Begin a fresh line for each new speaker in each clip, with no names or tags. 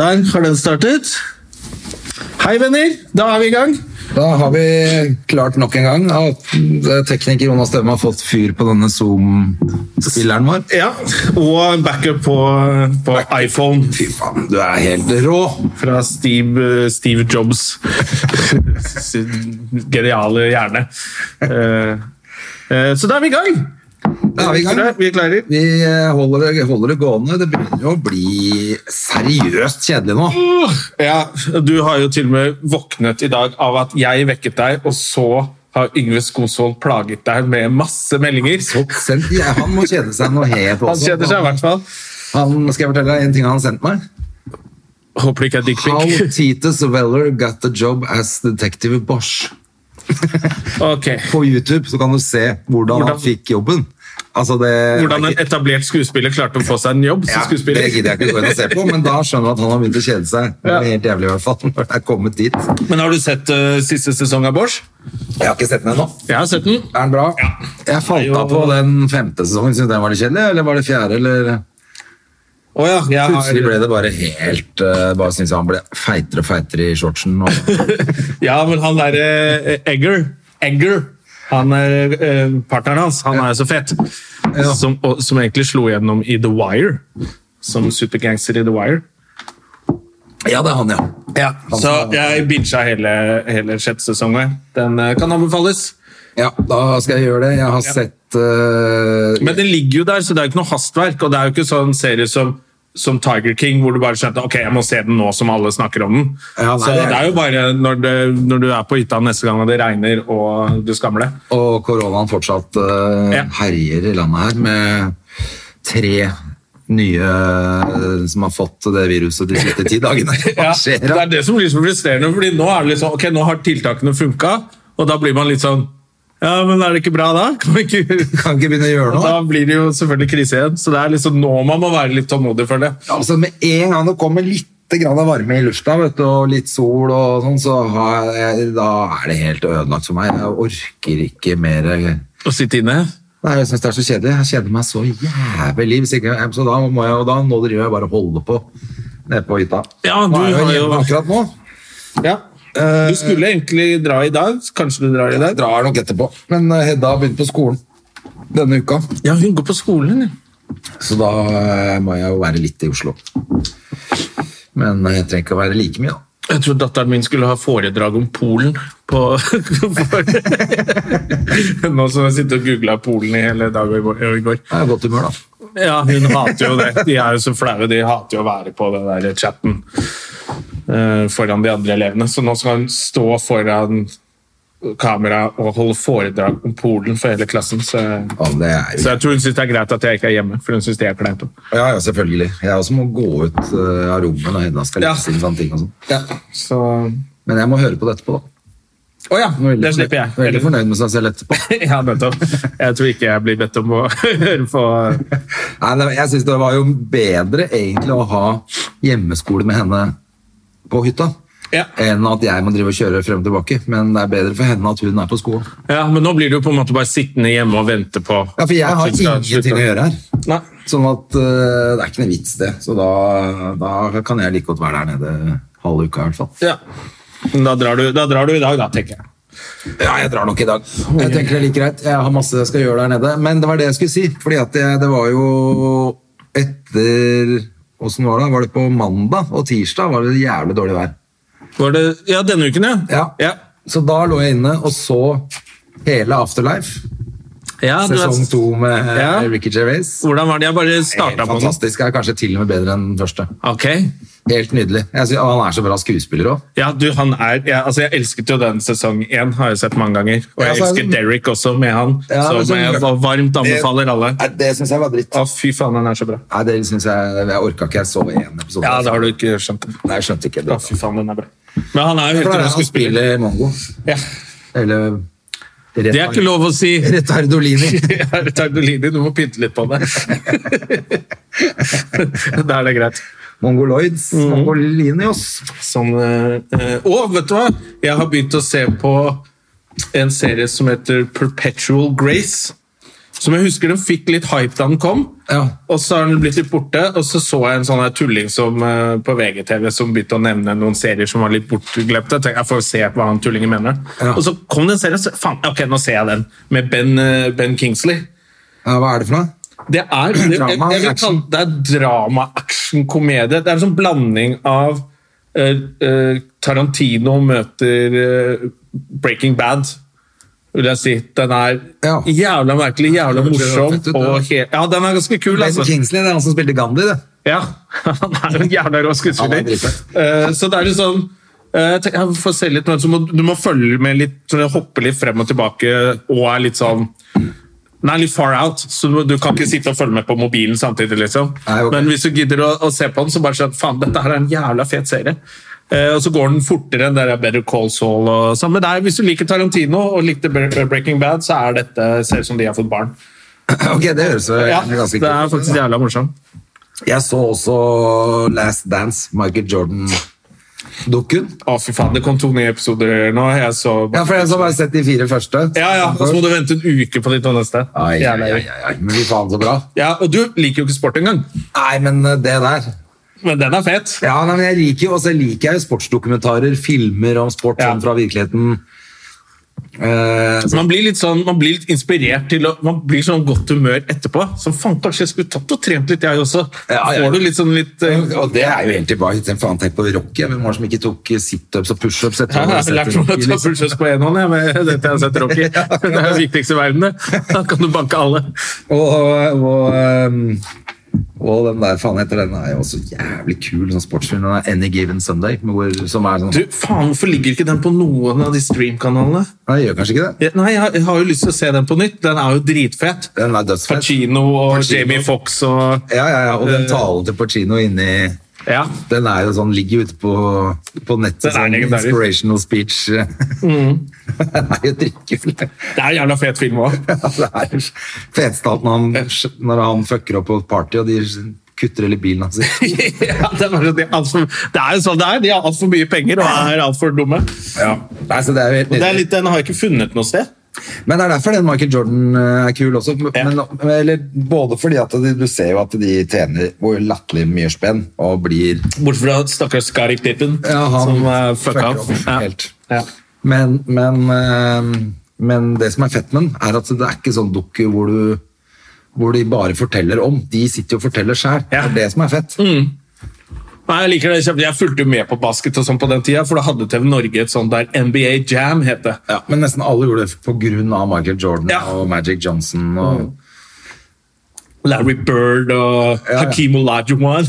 Der har den startet. Hei, venner. Da er vi i gang.
Da har vi klart nok en gang at eh, tekniker Jonas Stemme har fått fyr på denne Zoom-spilleren vår.
Ja, Og backup på, på iPhone
Fy faen, du er helt rå!
fra Steve, Steve Jobs' sin geniale hjerne. Eh, eh, Så da er vi i gang.
Da er vi i gang.
Dere, Vi er klare.
Vi eh, holder det, holder det gående. Det begynner jo å bli seriøst kjedelig nå.
Uh. Ja, Du har jo til og med våknet i dag av at jeg vekket deg, og så har Yngve Skosvold plaget deg med masse meldinger.
Sendt, ja, han må kjede seg noe helt
Han kjeder seg i hvert fall.
Han, skal jeg fortelle deg en ting han har sendt meg?
Håper det ikke er
How
dickpic.
Titus Weller got the job as detective Bosch.
Ok.
På YouTube så kan du se hvordan,
Hvordan-
han fikk jobben. Altså det,
Hvordan en etablert skuespiller klarte å få seg en jobb som
Ja,
skuespiller.
Det gidder jeg ikke gå inn og se på, men da skjønner jeg at han har begynt å kjede seg. Det
Ja.
er helt jævlig i hvert fall, når det er kommet dit. Jeg
Men har du sett eh, siste sesong av Bosch?
har ikke sett den ennå.
Jeg har sett den.
Er den bra? Jeg falt av på den femte sesongen. Synes den var litt kjedelig, eller var det fjerde, eller
Å ja, jeg
Plutselig
har...
ble det bare helt eh, Bare synes jeg han ble feitere og feitere i shortsen. Og...
ja, men han derre Egger Egger. Han er eh, partneren hans. Han er jo så fet.
Ja.
Som, og, som egentlig slo gjennom i The Wire. Som supergangster i The Wire.
Ja, det er han, ja. Han
Så
som-
jeg bincha hele, hele sjette sesong. jeg. Den eh, kan anbefales.
ja. Da skal jeg gjøre det. Jeg har sett eh,
Men den ligger jo der, så det er jo ikke noe hastverk. Og det er jo ikke sånn serie som, som Tiger King, hvor du bare skjønte ok, jeg må se den nå som alle snakker om den.
Ja, nei,
så
det
det
er-
er, jo bare når, det, når du er på hytta neste gang og det regner og du skammer deg.
Og koronaen fortsatt eh,
Ja.
herjer i landet her med tre nye eh, som har fått det viruset de siste ti dagene. Hva
Ja,
skjer
det
da?
er det som blir så frustrerende, fordi nå er det liksom, ok, nå har tiltakene funka, og da blir man litt sånn ja, men er det ikke bra da? Kan vi ikke...
Kan ikke begynne å gjøre noe.
Da blir det jo selvfølgelig krise igjen, så det er liksom nå man må være litt tålmodig for det.
Altså, med en gang det kommer litt grann av varme i lufta vet du, og litt sol og sånn, så har jeg, da er det helt ødelagt for meg. Jeg orker ikke mer. Nei,
Å sitte inne.
jeg synes det er så kjedelig. Jeg kjeder meg så jævlig. Hvis ikke, så da må jeg, og da, nå driver jeg bare og holder på nede på hytta.
Ja, du
Nå er jeg
har jo-
hjemme akkurat nå.
Du skulle egentlig dra i dag, kanskje du drar i dag?
Jeg drar nok etterpå. Men eh, Hedda har begynt på skolen denne uka,
Ja, hun går på skolen. ja.
så da eh, må jeg jo være litt i Oslo. Men eh, jeg trenger ikke å være like mye, da.
Jeg tror datteren min skulle ha foredrag om Polen på Nå som jeg sitter og googla Polen i hele dag og i går- og i går.
Jeg er i godt humør, da.
Ja, hun hater jo det. De er jo så flaue. De hater jo å være på den der chatten eh, foran de andre elevene. Så nå skal hun stå foran kamera og holde foredrag om Polen for hele klassen. Så,
Ja, det er jo
så jeg tror hun syns det er greit at jeg ikke er hjemme, for hun syns det er kleint.
Ja, ja, selvfølgelig. Jeg også må gå ut eh, av rommet når Hedda skal
Ja.
lese inn sånne ting og sånn.
Så
Men jeg må høre på det etterpå, da.
Å ja,
Jeg er veldig-
det slipper jeg.
Veldig fornøyd med seg selv etterpå.
Ja, nettopp. Jeg tror ikke jeg blir bedt om å høre på
Nei, nei, jeg syns det var jo bedre egentlig å ha hjemmeskole med henne på hytta.
Ja.
Enn at jeg må drive og kjøre frem og tilbake. Men det er bedre for henne at hun er på skolen.
Ja, men nå blir du jo på en måte bare sittende hjemme og vente på
Ja, for jeg har ingenting å gjøre her.
Nei.
Sånn at eh, det er ikke noe vits det. Så da, da kan jeg like godt være der nede halve uka i hvert fall.
Ja. Men Da drar, du, da drar du i dag, da, tenker jeg.
Ja, jeg drar nok i dag. Jeg tenker det er like greit. Jeg har masse jeg skal gjøre der nede. Men det var det jeg skulle si. Fordi at jeg, det var jo etter Åssen var det? Var det på mandag og tirsdag var det jævlig dårlig vær.
Var det, ja, denne uken, ja.
Ja. Så da lå jeg inne og så hele Afterlife.
Ja, du
Sesong
vet-
to med eh,
Ja.
Ricky Gervais.
Hvordan var det? Jeg bare starta
Helt
på den.
fantastisk. Er kanskje til og med bedre enn den første.
Ok.
Helt nydelig. Jeg synes, han er så bra skuespiller òg.
Ja, du, han er, ja, altså jeg elsket jo den sesong én, har jeg sett mange ganger. Og
Ja,
jeg
så er
elsker
det- sånn-
Derek også med han,
Ja, sånn- men så-
som jeg var- varmt anbefaler alle.
Det syns jeg var dritt.
Å, fy faen, han er så bra.
Nei, det synes jeg, jeg orka ikke. Jeg så én episode.
Ja, det har du ikke skjønt.
Nei, jeg skjønte ikke
Å,
det.
fy faen, den er bra. Men han er jo helt
For det er
rå
han
skuespiller.
spiller mongo.
Ja.
Eller
Det er ikke lov å si!
Retardolini.
Tardolini, du må pynte litt på det. da er det greit.
Mongoloids.
Mm.
Mongolinios.
Sånn eh, eh, Å, vet du hva? Jeg har begynt å se på en serie som heter Perpetual Grace. Som jeg husker den fikk litt hype da den kom.
Ja.
Og så har den blitt litt borte, og så så jeg en sånn her tulling som, eh, på VGTV som begynte å nevne noen serier som var litt bortglemte. Jeg tenkte, jeg får se hva han tullingen mener.
Ja.
Og så kom det en serie, så faen, ok, nå ser jeg den. Med Ben, eh, ben Kingsley.
Ja, hva er det for noe?
Det er, det, jeg,
Drama,
jeg vil
action.
kalle det er drama, action, komedie. Det er en sånn blanding av eh, eh, Tarantino møter eh, Breaking Bad, vil jeg si. Den er
Ja.
jævla merkelig, jævla
Det høres
morsom.
fett ut, det.
og he ja, den er ganske kul,
Ben
altså.
Kingsley, det er han som spilte Gandhi, det.
Ja, han er jo en jævla rå
Han er
skuespiller.
dritfett.
Eh, så det er jo sånn eh, jeg tenker, jeg får se litt, men så må, Du må følge med litt, sånn, hoppe litt frem og tilbake og er litt sånn Den er litt far out, så du, du kan ikke sitte og følge med på mobilen samtidig. liksom.
Nei, ok.
Men hvis du gidder å, å se på den, så bare sånn Faen, dette her er en jævla fet serie. Eh, og så går den fortere enn det der Better Call Saul og sånn. Men der, hvis du liker Tarantino og likte Bre- Breaking Bad, så er dette ser ut som de har fått barn.
Ok, det høres jo
Ja, Det
ganske
er
kult ut.
faktisk jævla morsomt.
Jeg så også Last Dance, Michael Jordan-dukken.
Å, fy faen, det kom to nye episoder nå. Jeg så
Ja, for jeg har bare sett de fire første.
Ja, ja, og så må du vente en uke på de to neste.
Ai, ai,
Jævla
ai,
irri.
ai, men fy faen, så bra.
Ja, og du liker jo ikke sport engang,
Nei, men eh, det der
men den er fet.
Ja, nei, men jeg liker jo, og så liker jeg jo sportsdokumentarer, filmer om sport
Ja.
sånn fra virkeligheten. Eh,
Man blir litt sånn, man blir litt inspirert til å, man blir sånn godt humør etterpå. Så faen, kanskje jeg skulle tatt og trent litt, jeg også.
Ja, ja.
Får du litt sånn litt eh,
og det er jo helt tilbake til faen tenk på Rocky. Hvem var det som ikke tok eh, situps og pushups? etter
jeg
å ha
har
sett
lært meg å
Rocky,
ta
liksom?
pushups på én hånd, jeg, med dette jeg har sett Rocky. Det er det viktigste i verden, det. Da kan du banke alle.
Og, og, og, ehm, og den der faen heter den er jo også jævlig kul sånn sportsfilm. Den er Any Given Sunday. med Hvor, som er sånn
Du, faen, hvorfor ligger ikke den på noen av de streamkanalene?
Nei, jeg gjør kanskje ikke det.
Ja, Nei, jeg har- jeg har jo lyst til å se den på nytt. Den er jo dritfet.
Den er dødsfett.
Pacino og
Pacino.
Jamie Fox og
Ja, ja, ja. Og den talen til Pacino inni
Ja.
Den er jo sånn, ligger jo ute på, på nettet.
Den er
Sånn,
legendarisk.
inspirational speech.
Mm.
den er jo dritkul.
Det er en jævla fet film òg.
det er jo feteste alt når han, når han fucker opp på et party, og de kutter hele bilen hans.
ja, det, er bare sånn, de er alt for, det er jo sånn det er. De har altfor mye penger og er altfor dumme.
Ja. Nei, så det er jo helt
Det er
nydelig.
litt, den har jeg ikke funnet noe sted.
Men det er derfor den Michael Jordan eh, er kul også. Men,
Ja.
men- eller, både fordi at de, du ser jo at de tjener hvor latterlig mye spenn, og blir
Bortsett fra stakkars Skarik Tippen,
Ja, han
som uh, fucka
fucker
opp.
opp
Ja.
helt.
Ja.
Men, men, eh, men det som er fett med den, er at det er ikke sånn dukke hvor, du, hvor de bare forteller om. De sitter jo og forteller sjæl.
Ja. Mm.
Det er det som er fett.
Nei, Jeg liker det kjempe. Jeg fulgte jo med på basket og sånn på den tida, for da hadde TV Norge et sånt der NBA Jam, het det.
Ja, men nesten alle gjorde det på grunn av Michael Jordan
Ja. Mm.
og Magic Johnson. Og,
Larry Bird og
Ja, ja.
Hakeem Olajuwon,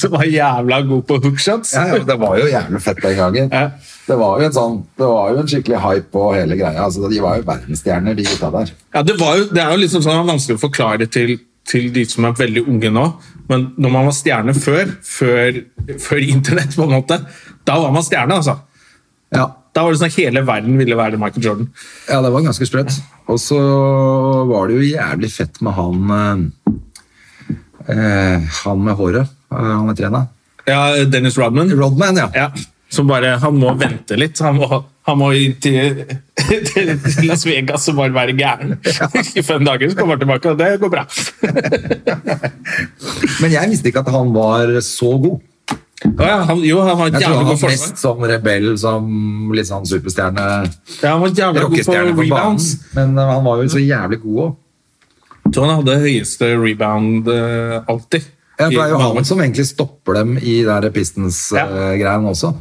som var jævla god på hookshots.
ja, ja, det var jo jævlig fett den gangen.
Ja.
Det, var jo en sånn, det var jo en skikkelig hype på hele greia. Altså, de var jo verdensstjerner, de gutta der.
Ja, det, var jo, det er jo liksom sånn vanskelig å forklare til, til de som er veldig unge nå. Men når man var stjerne før, før, før internett, på en måte, da var man stjerne. altså.
Ja,
Da var det sånn at Hele verden ville være Michael Jordan.
ja det var ganske sprøtt. Og så var det jo jævlig fett med han eh, eh, Han med håret. eh, Han heter igjen, da.
Ja, Dennis Rodman.
Rodman, ja.
Ja, som bare, Han må vente litt. Han må, han må inn til, til Las Vegas og bare være gæren i fem dager. Så kommer han tilbake, og det går bra.
Men jeg visste ikke at han var så god.
Ja, han, jo, han var
Jeg tror
jævlig
han
god
var
forsvar.
best som rebell, som litt sånn superstjerne.
Ja, han var jævlig god på
Rockestjerne på banen.
rebounds.
Men eh, han var jo så jævlig god òg.
Jeg tror han hadde høyeste rebound eh, alltid.
Ja, for det er jo
I-
han som egentlig stopper dem i den der
Ja.
Pistons-greien også.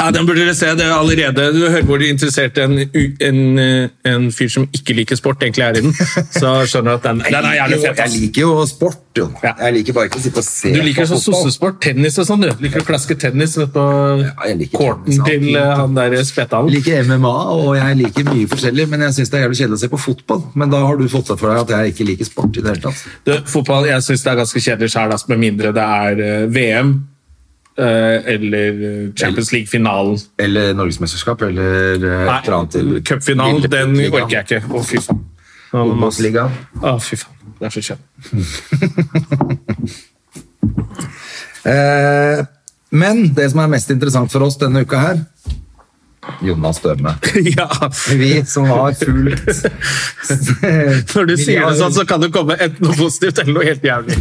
Ja, den burde dere se. Det er allerede Du hører hvor interessert en, u- en, eh, en fyr som ikke liker sport, egentlig er i den. Så skjønner du at den, den er
Jeg
jævlig
liker jo-
fet.
Jeg
ass.
liker jo sport, jo.
Ja.
Jeg liker bare ikke å sitte og se
Du liker
på
sånn
fotball.
sossesport, tennis og sånn, du. Liker å klaske tennis nede på
Ja, jeg liker tennis,
courten
ja.
til eh, han der Spetalen.
Jeg liker MMA, og jeg liker mye forskjellig, men jeg syns det er jævlig kjedelig å se på fotball. Men da har du fått det for deg at jeg ikke liker sport i det hele tatt.
Du, fotball jeg syns det er ganske kjedelig sjøl, med mindre det er eh, VM eh, eller eh, Champions League-finalen.
Eller norgesmesterskap, eller eh, et eller annet til
Nei, cupfinalen, den orker jeg ikke. Å, fy faen.
Ungdomsligaen.
Å, fy faen. Det er så kjedelig.
Eh, men det som er mest interessant for oss denne uka her Jonas Dømme.
ja.
Vi som har fulgt
Når
Når
du sier det sånn, så kan det komme enten noe positivt eller noe helt jævlig.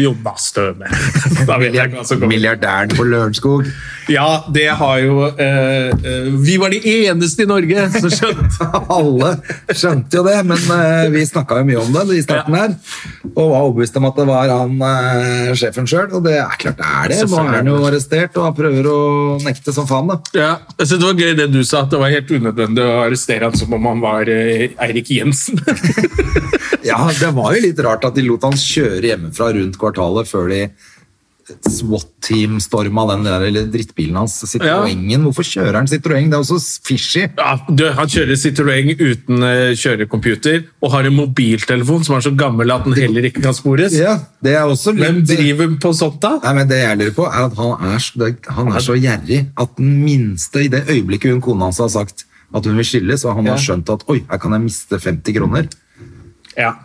Jonas Støme. Da vet jeg hva som kommer.
Milliardæren på Lørenskog.
Ja, det har jo eh, eh, Vi var de eneste i Norge som skjønte
Alle skjønte jo det, men eh, vi snakka jo mye om det i starten her. Og var overbevist om at det var han eh, sjefen sjøl, og det er klart det er det. Nå er han jo arrestert og han prøver å nekte som faen, da.
ja, jeg synes Det var gøy det du sa, at det var helt unødvendig å arrestere han som om han var eh, Eirik Jensen.
Ja, det var jo litt rart at de lot han kjøre hjemmefra rundt kvartalet før de SWAT-team storma den der eller drittbilen hans, Citroengen. Hvorfor kjører han Citroën? Det er også fishy.
ja, du, han kjører Citroën uten eh, kjørecomputer og har en mobiltelefon som er så gammel at den heller ikke kan spores.
Ja, det er også litt...
Hvem driver på sånt, da?
Nei, men Det jeg lurer på, er at han er, s- det- han er så gjerrig at den minste, i det øyeblikket hun kona hans har sagt at hun vil skilles, og han har skjønt at oi, her kan jeg miste 50 kroner,
Ja.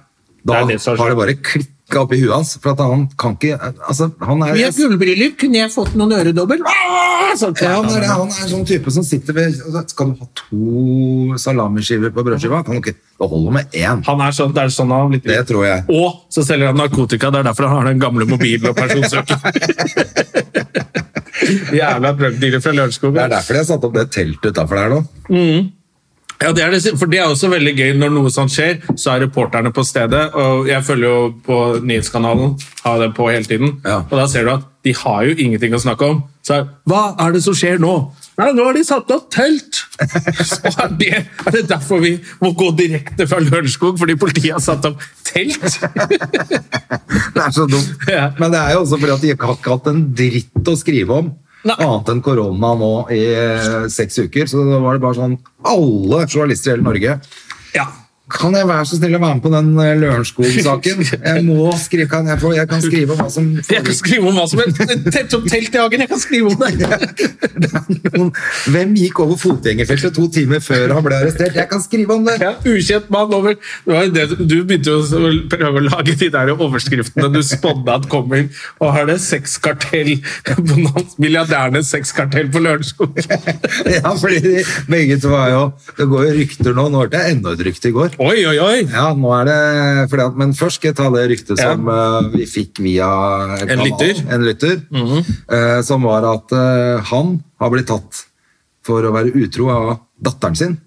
det
da
er det som er så-
har det bare klikka opp i huet hans. For at han kan ikke altså, han er,
Med gullbriller kunne jeg fått noen øredobber. Ah, sånn.
ja, han, er, han er sånn type som sitter ved altså, Skal du ha to salamiskiver på brødskiva? Kan du ikke, det holder med én.
Han er sånn, det er sånn han har blitt.
Det tror jeg.
Og så selger han narkotika, det er derfor han har den gamle mobilen og personsøker. Jævla drugdealer fra Lørenskog.
Det er derfor de har satt opp det teltet utafor der nå.
Ja, det er det, for det er også veldig gøy når noe sånt skjer, så er reporterne på stedet, og jeg følger jo på nyhetskanalen, har det på hele tiden,
Ja.
og da ser du at de har jo ingenting å snakke om. Så er, hva er det som skjer nå? Nei, nå har de satt opp telt! Så er det, er det derfor vi må gå direkte fra Lørenskog, fordi politiet har satt opp telt?
Det er så dumt.
Ja.
Men det er jo også fordi at de ikke har ikke hatt en dritt å skrive om.
Nei.
Annet enn korona nå i eh, seks uker. Så da var det bare sånn Alle journalister i hele Norge
Ja.
Kan jeg være så snill å være med på den eh, Lørenskog-saken? Jeg må skrive, kan jeg, få, jeg kan skrive om hva som
Jeg kan skrive om hva som helst. Telt opp telt i hagen, jeg kan skrive om det.
Hvem gikk over fotgjengerfeltet to timer før han ble arrestert? Jeg kan skrive om det!
Ja, ukjent mann over det var jo det, Du begynte jo å prøve å lage de der overskriftene du spådde at kommer. Og har det sexkartell på Nans- Milliardærenes sexkartell på Lørenskog.
Ja, fordi de, begge to var jo Det går jo rykter nå. Nå hørte jeg enda et rykte i går.
Oi, oi, oi!
Ja, nå er det fordi at, Men først skal jeg ta det ryktet
Ja.
som eh, vi fikk via en,
lytter.
En lytter eh, som var at eh, han har blitt tatt for å være utro av datteren sin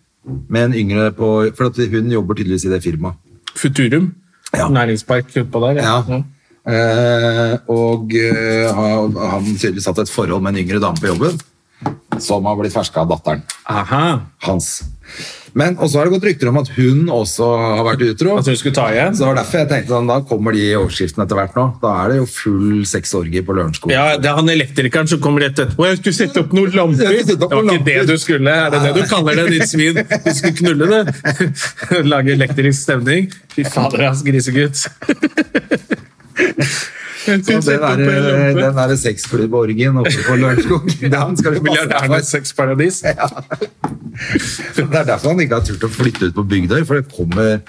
med en yngre på For at hun jobber tydeligvis i det firmaet.
Futurum.
Ja.
Næringspark utpå der.
Ja. Eh, og eh, har han tydeligvis hatt et forhold med en yngre dame på jobben som har blitt ferska av datteren
Aha.
hans. Men, Og så har det gått rykter om at hun også har vært utro.
At hun skulle ta igjen?
Så det var derfor jeg tenkte sånn, da kommer de overskriftene etter hvert nå. Da er det jo full sexorgie på Lørenskog.
Ja, det er han elektrikeren som kom rett etterpå. Jeg skulle sette opp noen lamper!
Jeg skulle
Det
sette opp
var
noen
ikke det
lamper.
du skulle. Er det det du kaller det, ditt svin? Du skulle knulle det. Lage elektrisk stemning. Fy fader, ass, grisegutt. Jeg
Så
skulle
den
sette opp en
der, eh,
lampe.
den der sexklubborgien oppe på Lørenskog, den skal du passe deg
Milliardærenes
for.
sexparadis.
Det er derfor han ikke har turt å flytte ut på Bygdøy, for det kommer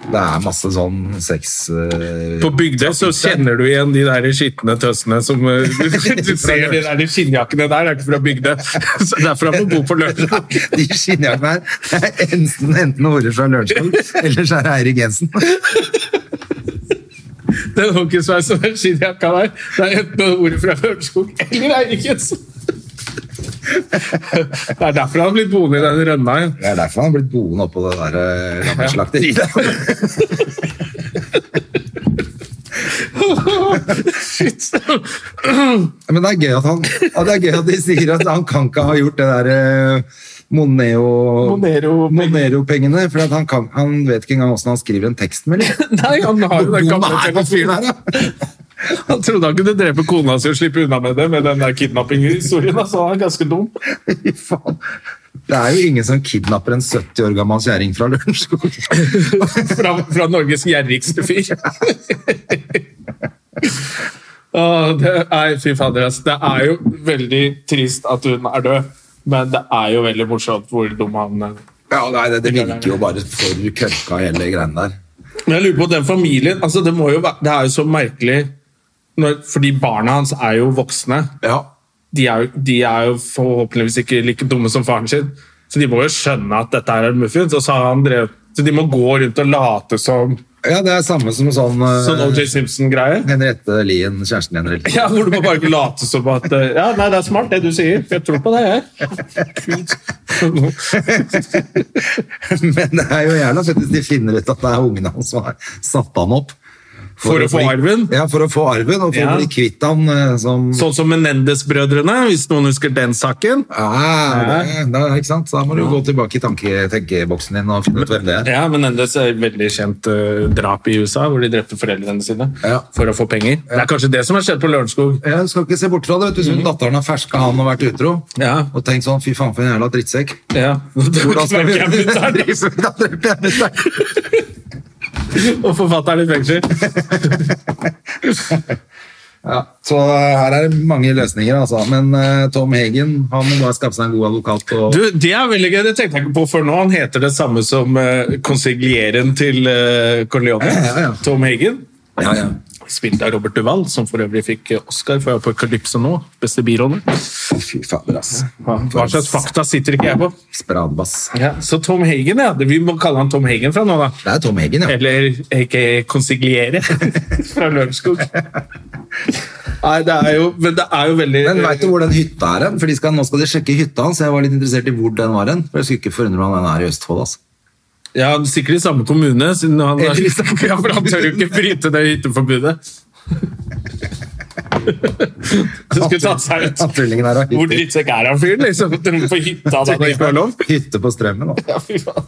Det er masse sånn sex... eh,
På Bygdøy så kjenner du igjen de der skitne tøsene som eh, Du ser de der skinnjakkene der, det er ikke fra Bygdøy. Så Det er fra man bor på Lørenskog.
de skinnjakkene her det er enten, enten Åre fra Lørenskog, eller så er det Eirik Jensen.
Den hockeysveisen og skinnjakka der, det er enten ordet fra Lørenskog eller Eirik Jensen. Det er derfor han blir boende i den rønna. ja.
Det er derfor han har blitt boende oppå det der eh, gamle slakteriet. Men det er gøy at, han, ja, det er gøy at de sier at han kan ikke ha gjort det der eh, Moneo...
Monero-
Monero-pengene, for at han, kan, han vet ikke engang hvordan han skriver en tekstmelding.
Nei, han har jo
Hvor
den
dum
gamle
er han
telefonen.
fyren her, da?
Han trodde han kunne drepe kona si og slippe unna med det med den der kidnapping-historien. Altså, han er ganske dum.
Fy faen. Det er jo ingen som kidnapper en 70 år gammel kjerring fra Lørenskog.
Fra, fra Norges gjerrigste fyr. Åh, det, nei, fy fader, ass. Det er jo veldig trist at hun er død, men det er jo veldig morsomt hvor dum han er.
Ja, nei, det, det virker jo bare for køkka, hele greien der.
Men jeg lurer på den familien altså Det, må jo være, det er jo så merkelig når, Fordi barna hans er jo voksne.
Ja.
De er, jo- de er jo forhåpentligvis ikke like dumme som faren sin, så de må jo skjønne at dette er en muffins. Og så, har han drevet, så de må gå rundt og late som
ja, det er samme som sånn, eh,
sånn OJ Simpson-greie.
Henriette Lien, kjæresten til Henrik.
Ja, Hvor du må bare ikke late som at eh, Ja, nei, det er smart, det du sier. Jeg tror på det, jeg.
Men det er jo jævla fett hvis de finner ut at det er ungen hans som har satt han opp.
For å få
bli-
arven?
Ja, for å få arven, og for
Ja.
å bli kvitt han eh, som
Sånn som Menendez-brødrene, hvis noen husker den saken.
Ja, det, da, ikke sant? Så da må du gå tilbake i tanke, tenkeboksen din og finne ut hvem det er.
Ja, Menendez er et veldig kjent eh, drap i USA, hvor de drepte foreldrene sine
Ja.
for å få penger. Det er kanskje det som har skjedd på Lørenskog.
Jeg skal ikke se bort fra det, vet du.
Mm.
Hvis datteren har ferska han og vært utro,
Ja.
og tenkt sånn, fy faen for en jævla drittsekk.
Ja.
Hvordan skal vi
Knarker jeg ut her?
Da dreper jeg mutter'n.
Og forfatteren i fengsel.
Ja, så eh, her er det mange løsninger, altså. Men eh, Tom Hagen, han må bare skaffe seg en god advokat og
Du, Det er veldig gøy, det tenkte jeg ikke på før nå. Han heter det samme som uh, konsiglieren til uh, Corleone,
Ja, ja, ja.
Tom Hagen.
ja, ja.
Spilt av Robert Duval, som for øvrig fikk eh, Oscar for Apokalypse nå. Beste birolle.
Fy fader, ass.
Hva slags fakta sitter ikke jeg på?
Spradbass.
Ja. Så Tom Hagen, ja. Vi må kalle han Tom Hagen fra nå, da.
Det er Tom Hagen, ja.
Eller ikke konsigliere fra Lørenskog. Nei, det er jo Men det er jo veldig
Men veit du hvor den hytta er hen? For de skal, nå skal de sjekke hytta hans. Jeg var litt interessert i hvor den var hen. For jeg skulle ikke forundre meg om den er i Østfold, altså.
Ja, sikkert i samme kommune, siden han,
Eller i samme
ja, for han tør jo ikke bryte det hytteforbudet. Så skulle tatt seg ut.
Han tullingen her har hytte.
Hvor drittsekk er han fyren? Liksom, på hytta da det ikke var lov?
Hytte på strømmen, da.
Ja, fy faen.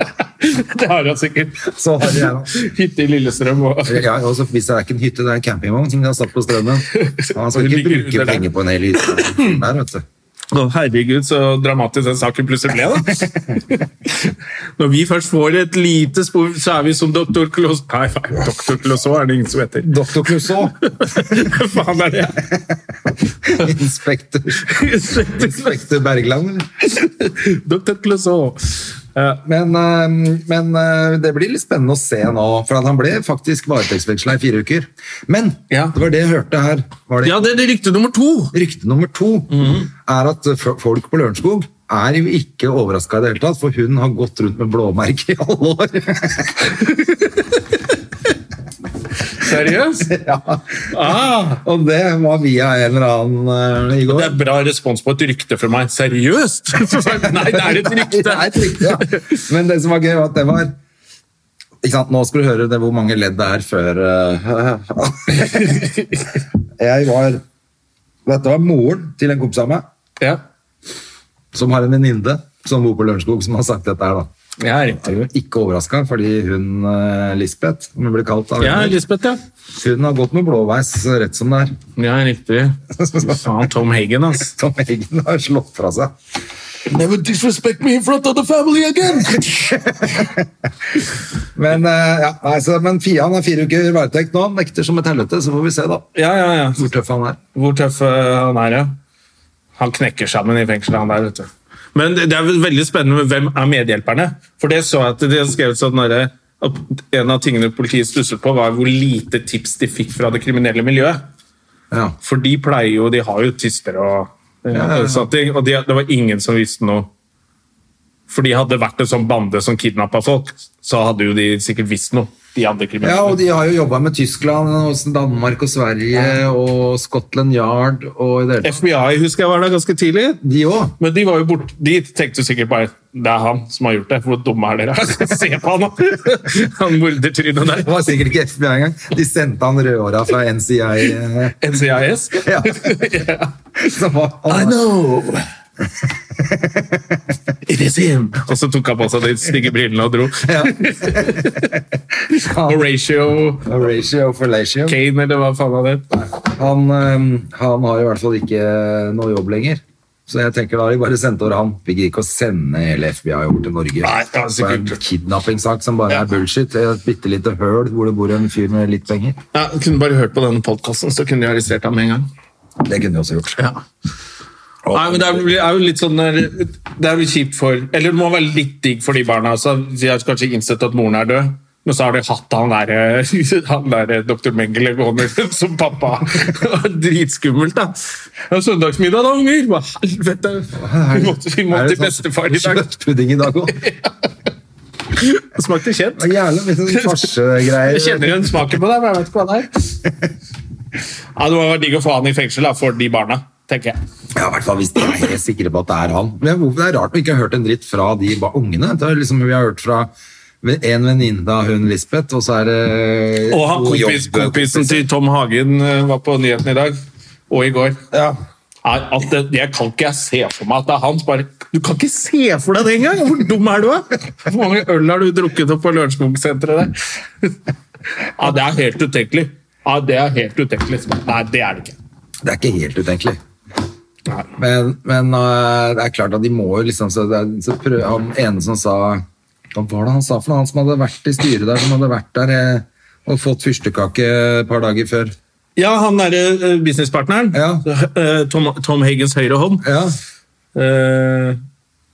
Det har han sikkert.
Så har de her, da.
Hytte i Lillestrøm og
Ja, og så hvis det er ikke en hytte, det er en campingvogn som de har satt på strømmen. Og
Og
Han skal
det
ikke
ligger under
bruke
der.
penger på en hel hytte der, vet du.
Å, herregud, så dramatisk den saken plutselig ble, da. Når vi først får et lite spor, så er vi som doktor Clouseau Nei, faen, doktor Clouseau er det ingen som heter.
Doktor Clouseau,
faen er det?
inspektør Inspektør Bergland, eller?
doktor Clouseau. Ja,
Men, eh, men eh, det blir litt spennende å se nå, for at han ble faktisk varetektsfengsla i fire uker. Men
Ja.
det var det jeg hørte her. Var det
ja, Mhm. det er det rykte nummer to!
Rykte nummer to er at f- folk på Lørenskog er jo ikke overraska i det hele tatt, for hun har gått rundt med blåmerke i alle år.
Seriøst?
ja.
Ah,
Og det var via en eller annen eh, i går.
det er bra respons på et rykte fra meg. Seriøst?! Nei, det er et
Det er et
rykte!
rykte, ja. Men det som var gøy, var at det var ikke sant? Nå skal du høre det, hvor mange ledd det er før eh, Jeg var Dette var moren til en kompis av meg,
Ja,
som har en venninne som bor på Lørenskog, som har sagt dette her, da.
ja riktig.
ikke overraska, fordi hun eh, Lisbeth, som hun blir kalt av
Ja,
venner,
Lisbeth, ja.
hun har gått med blåveis rett som det er.
Ja, riktig. Fy Faen, Tom Hagen, ass.
Tom Eggen har slått fra seg.
Never disrespect me in front of the family again!
Men, eh, ja, nei, så, men Fia han har fire uker varetekt nå, nekter som et helvete, så får vi se da
Ja, ja, ja.
hvor tøff han er.
Hvor tøff eh, han er, ja. Han knekker sammen i fengselet, han der, vet du. Men det det er vel veldig spennende med hvem er medhjelperne. For det så jeg at de har skrevet sånn derre- at en av tingene politiet stusset på, var hvor lite tips de fikk fra det kriminelle miljøet.
Ja.
For de pleier jo De har jo tyster og
ja, ja.
eh, sånne ting. Og de, det var ingen som visste noe. For de hadde vært en sånn bande som kidnappa folk, så hadde jo de sikkert visst noe. de andre kriminelle.
Ja, og de har jo jobba med Tyskland, og Danmark og Sverige og Scotland Yard og i det hele tatt.
FBI husker jeg var der ganske tidlig.
De òg.
Men de var jo bort, de tenkte jo sikkert bare det er han som har gjort det. Hvor dumme er dere? Se på han, da! Han mordertrynet der.
Det var sikkert ikke FBI engang. De sendte han rødhåra fra NCI. eh,
NCIS.
Ja. Som var,
I know! It is him! Og så tok han på seg de stygge brillene og dro. Horatio
Horatio Felatio.
Kane, eller hva faen han het.
Han, ehm, han har i hvert fall ikke noe jobb lenger. Så jeg tenker da har de bare sendt over han. Vi gidder ikke å sende hele FBI over til Norge.
Nei, det var
For en
sikkert-
kidnappingssak som bare
Ja.
er bullshit. Et bitte lite høl hvor det bor en fyr med litt penger.
Ja, kunne bare hørt på denne podkasten, så kunne de arrestert ham med en gang.
Det kunne de også gjort.
Nei, men det er, det er jo litt sånn der, Det er jo kjipt for Eller det må være litt digg for de barna også. De har kanskje innsett at moren er død, men så har de hatt han derre han der dr. Mengele gående rundt som pappa. Det var Dritskummelt, da. Det er søndagsmiddag, da, unger! Hva helvete! Vi måtte, vi måtte
Er det
til
sånn
bestefar i dag.
Kjøttpudding i dag òg. Det
Smakte kjent.
er Jævlig mye sånn farsegreier.
Jeg kjenner igjen smaken på det, men jeg vet ikke hva det er. Ja, Det må være digg å få han i fengsel da, for de barna, tenker jeg.
Ja, i hvert fall hvis de er helt sikre på at det er han. Men hvorfor det er rart vi ikke har hørt en dritt fra de ba- ungene. Det er liksom, vi har hørt fra en venninne av hun Lisbeth, og så er det
Og han
to
kompis,
jobb-
kompisen til Tom Hagen eh, var på nyheten i dag, og i går.
Ja.
Nei, At det, jeg kan ikke se for meg at det er hans. bare, Du kan ikke se for deg det engang! Hvor dum er du? da? Hvor mange øl har du drukket opp på Lørenskog-senteret der? Ja, det er helt utenkelig. Ja, det er helt utenkelig. Nei, det er det ikke.
Det er ikke helt utenkelig.
Nei.
Men, men øh, det er klart at de må jo liksom så det er, så prøv, Han ene som sa Hva var det han sa for noe? Han som hadde vært i styret der, som hadde vært der eh, og fått fyrstekake et par dager før.
Ja, han derre businesspartneren.
Ja.
eh, Tom, Tom Hagens høyre hånd.
Ja,
Eh,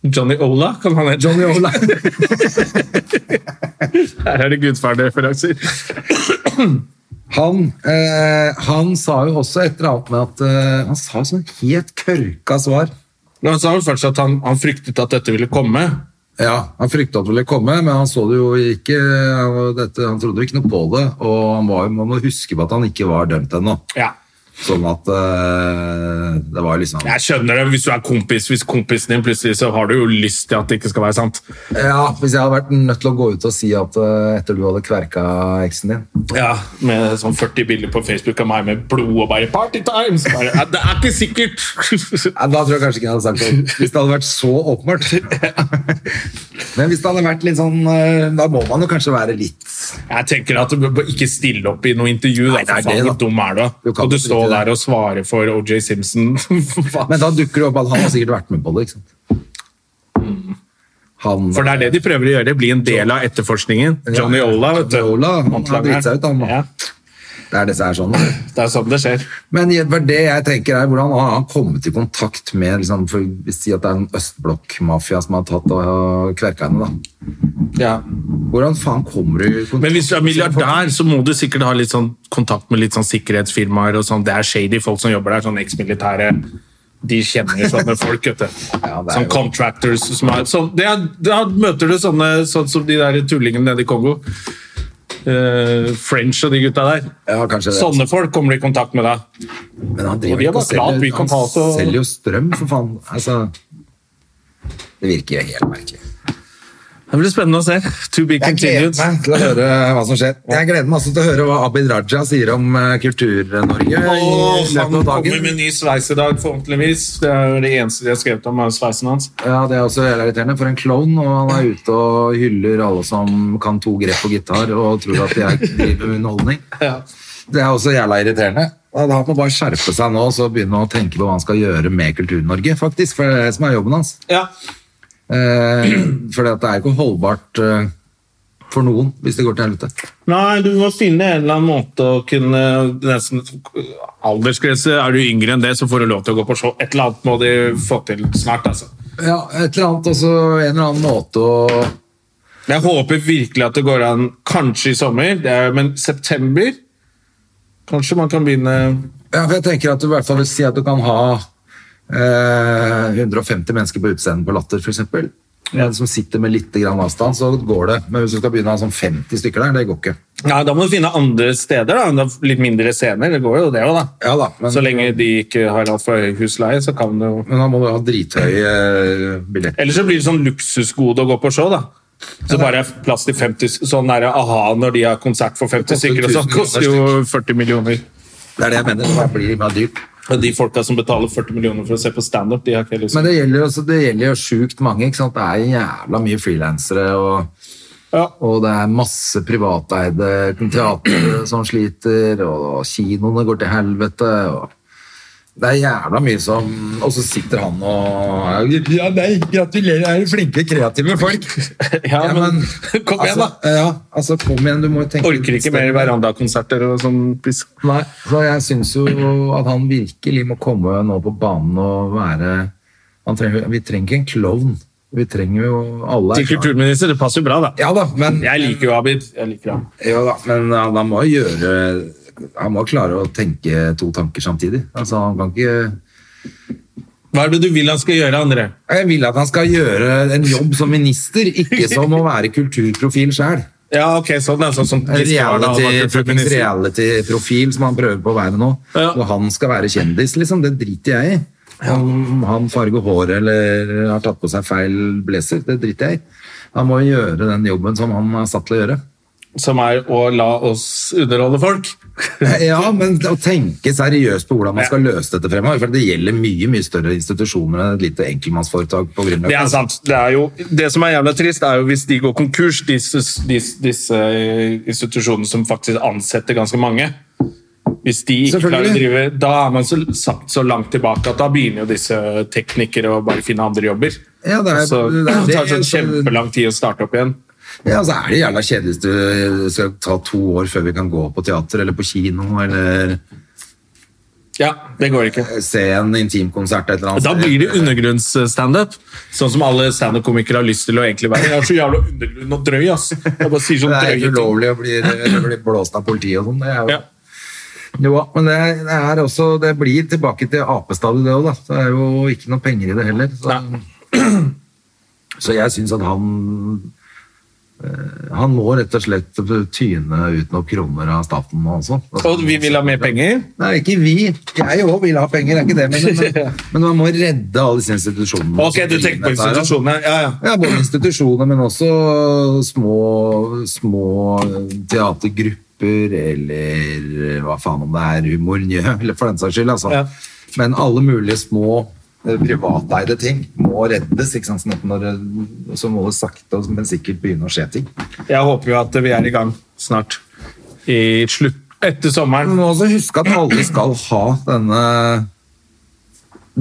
Johnny Ola, kan han hete.
Johnny Ola.
Her er det gudfaren-referanser.
Han, eh, han sa jo også et eller annet med at eh, Han sa sånn helt kørka svar.
Men Han sa vel først at han, han fryktet at dette ville komme.
Ja, Han frykta at det ville komme, men han så det jo ikke han var- dette, Han trodde jo ikke noe på det. Og han var, jo- man må huske på at han ikke var dømt ennå.
Ja.
Sånn at eh, det var liksom
Jeg skjønner det hvis du er kompis. Hvis kompisen din plutselig så har du jo lyst til at det ikke skal være sant.
Ja, hvis jeg hadde vært nødt til å gå ut og si at eh, etter du hadde kverka eksen din
Ja, Med sånn 40 bilder på Facebook av meg med blod og bare 'party time'! Så bare, «Ja, det er ikke sikkert!
Nei, Da tror jeg kanskje ikke jeg hadde sagt det. Hvis det hadde vært så åpenbart. Men hvis det hadde vært litt sånn eh, Da må man jo kanskje være litt
Jeg tenker at du bør ikke stille opp i noe intervju.
Nei,
da, for faen,
det er det, da.
hvor dum er du?
Du kan
og du
ikke
står
drite i det.
der og svarer for OJ Simpson. Faen.
Men da dukker det opp at han har sikkert vært med på det. ikke sant? Han
for det er det de prøver å gjøre. Bli en del av etterforskningen. Johnny Ola, vet du.
Johnny Ola, han har
Håndlangeren.
dritt seg ut, han, da.
Ja,
Det er det som er sånn.
det er sånn det skjer.
Men det var det jeg tenker er hvordan har han kommet i kontakt med liksom, for å Si at det er en østblokk-mafia som har tatt og kverka henne, da. Hvordan faen kommer du i kontakt
Men hvis du er milliardær, så må du sikkert ha litt sånn kontakt med litt sånn sikkerhetsfirmaer. og sånn. Det er shady folk som jobber der, sånn eksmilitære. De kjenner sånne folk, vet du.
Ja, det er
sånn
jo-
contractors. Som er, sånn- det er, da møter du sånne sånn som de der tullingene nede i Kongo. Eh, French og de gutta der.
Ja, kanskje det.
Sånne folk kommer du i kontakt med da.
Men han
Og
driver
de er
ikke
bare
og selger,
glad vi kan
han
ta så-
selger jo strøm, for faen. Altså, det virker jo helt merkelig.
Det blir spennende å se. To be
Jeg gleder
continued.
meg til å høre hva som skjer. Jeg gleder meg også til å høre hva Abid Raja sier om eh, Kultur-Norge i
Åh, han
løpet av
kommer
dagen.
med ny sveis i dag, forhåpentligvis. Det er jo det eneste de har skrevet om, er sveisen hans.
Ja, Det er også jævlig irriterende for en klovn, og han er ute og hyller alle som kan to grep på gitar og tror at de er driver med underholdning.
Ja.
Det er også jævla irriterende. Og da må han bare skjerpe seg nå og så begynne å tenke på hva han skal gjøre med Kultur-Norge, faktisk. For det er det som er jobben hans.
Ja.
Eh, for det er jo ikke holdbart eh, for noen hvis det går til helvete.
Nei, du må finne en eller annen måte å kunne nesten, Aldersgrense Er du yngre enn det, så får du lov til å gå på show. Et eller annet må de få til snart. altså.
Ja, et eller annet, altså en eller annen måte å
Jeg håper virkelig at det går an, kanskje i sommer, det er, men september Kanskje man kan begynne
Ja, for jeg tenker at du i hvert fall vil si at du kan ha eh, 150 mennesker på utseendet på Latter, f.eks. En som sitter med litt grann avstand, så går det. Men hvis du skal begynne å ha sånn 50 stykker der, det går ikke.
Ja, da må du finne andre steder, da. da. Litt mindre scener. Det går jo, det òg, da.
Ja da, men-
Så lenge de ikke har altfor høy husleie, så kan det jo
Men da må du ha drithøye eh, billetter.
Eller så blir det sånn luksusgode å gå på show, da. Så bare er plass til 50 Sånn er det a-ha når de har konsert for 50
Det koster
stykker, og sånn
1000
koster jo 40 millioner.
Det er det jeg mener. Det blir mer dyrt.
Og de folka som betaler 40 millioner for å se på standup, de har ikke lyst
Men det gjelder jo også- det gjelder jo sjukt mange. ikke sant? Det er jævla mye frilansere, og,
Ja.
og det er masse privateide teatre som sliter, og kinoene går til helvete. og det er jævla mye som Og så sitter han og Ja, nei, gratulerer, er det flinke, kreative folk.
Ja, men kom igjen,
altså, da. Ja, altså, kom igjen, du må jo tenke
Orker ikke mer verandakonserter og sånn piss.
Nei, så jeg syns jo at han virkelig må komme nå på banen og være han trenger, Vi trenger ikke en klovn. Vi trenger jo alle
Til kulturminister, det passer jo bra, da.
Ja da, men,
Jeg liker jo Abid. Jeg liker ham.
ja da, men han, han må jo gjøre Han må klare å tenke to tanker samtidig. Altså, han kan ikke
Hva er det du vil han skal gjøre, André?
Jeg vil at han skal gjøre en jobb som minister, ikke som å være kulturprofil sjæl.
Ja, ok, sånn er sånn som
En
Gisle Wardal var
reality-
kulturminister.
reality-profil som han prøver på å være nå.
Ja.
Og han skal være kjendis, liksom. Det driter jeg i. Om han farger håret eller har tatt på seg feil blazer, det driter jeg i. Han må jo gjøre den jobben som han er satt til å gjøre.
Som er å la oss underholde folk.
Ja, men å tenke seriøst på hvordan man skal løse dette fremover. For det gjelder mye mye større institusjoner enn et lite enkeltmannsforetak på
Det er
Grünerløkka.
sant. Det, er jo, det som er jævla trist, er jo hvis de går konkurs, disse, disse, disse eh, institusjonene som faktisk ansetter ganske mange. Hvis de ikke klarer å
Selvfølgelig.
drive, da er man så, satt så langt tilbake at da begynner jo disse teknikere å bare finne andre jobber.
Ja, det er-
så
det
det
er-
tar sånn
det-
kjempelang tid å starte opp igjen.
Ja, så er det jævla kjedelig hvis du skal ta to år før vi kan gå på teater eller på kino eller
Ja, det går ikke.
se en intimkonsert et eller annet
Da
sted.
blir det undergrunnsstandup. Sånn som alle standup-komikere har lyst til å egentlig være. Jeg er så jævla undergrunn og drøy, ass. Jeg bare sier sånn
Det er
drøye
helt
ting.
ulovlig å bli, å bli blåst av politiet og sånn. Det er jo
Ja.
Jo, men det, er- det er også Det blir tilbake til apestadiet, det òg, da. Det er jo ikke noe penger i det heller. Så, så jeg syns at han eh, Han må rett og slett tyne ut noen kroner av staten nå også.
Og vi vil ha mer penger.
Nei, ikke vi. Jeg òg vil ha penger, det er ikke det. Men, men, men man må redde alle disse institusjonene.
Ok, du tenker på
altså.
institusjonene. Ja, ja.
Ja, både institusjoner, men også små, små teatergrupper, eller hva faen om det er humornjø, eller for den saks skyld, altså.
Ja.
Men alle mulige små eh, privateide ting må reddes, ikke sant? Sånn at når, det- så må det sakte, men sikkert begynne å skje ting.
Jeg håper jo at vi er i gang snart. I slutt etter
Men
sommeren.
må også huske at alle skal ha denne...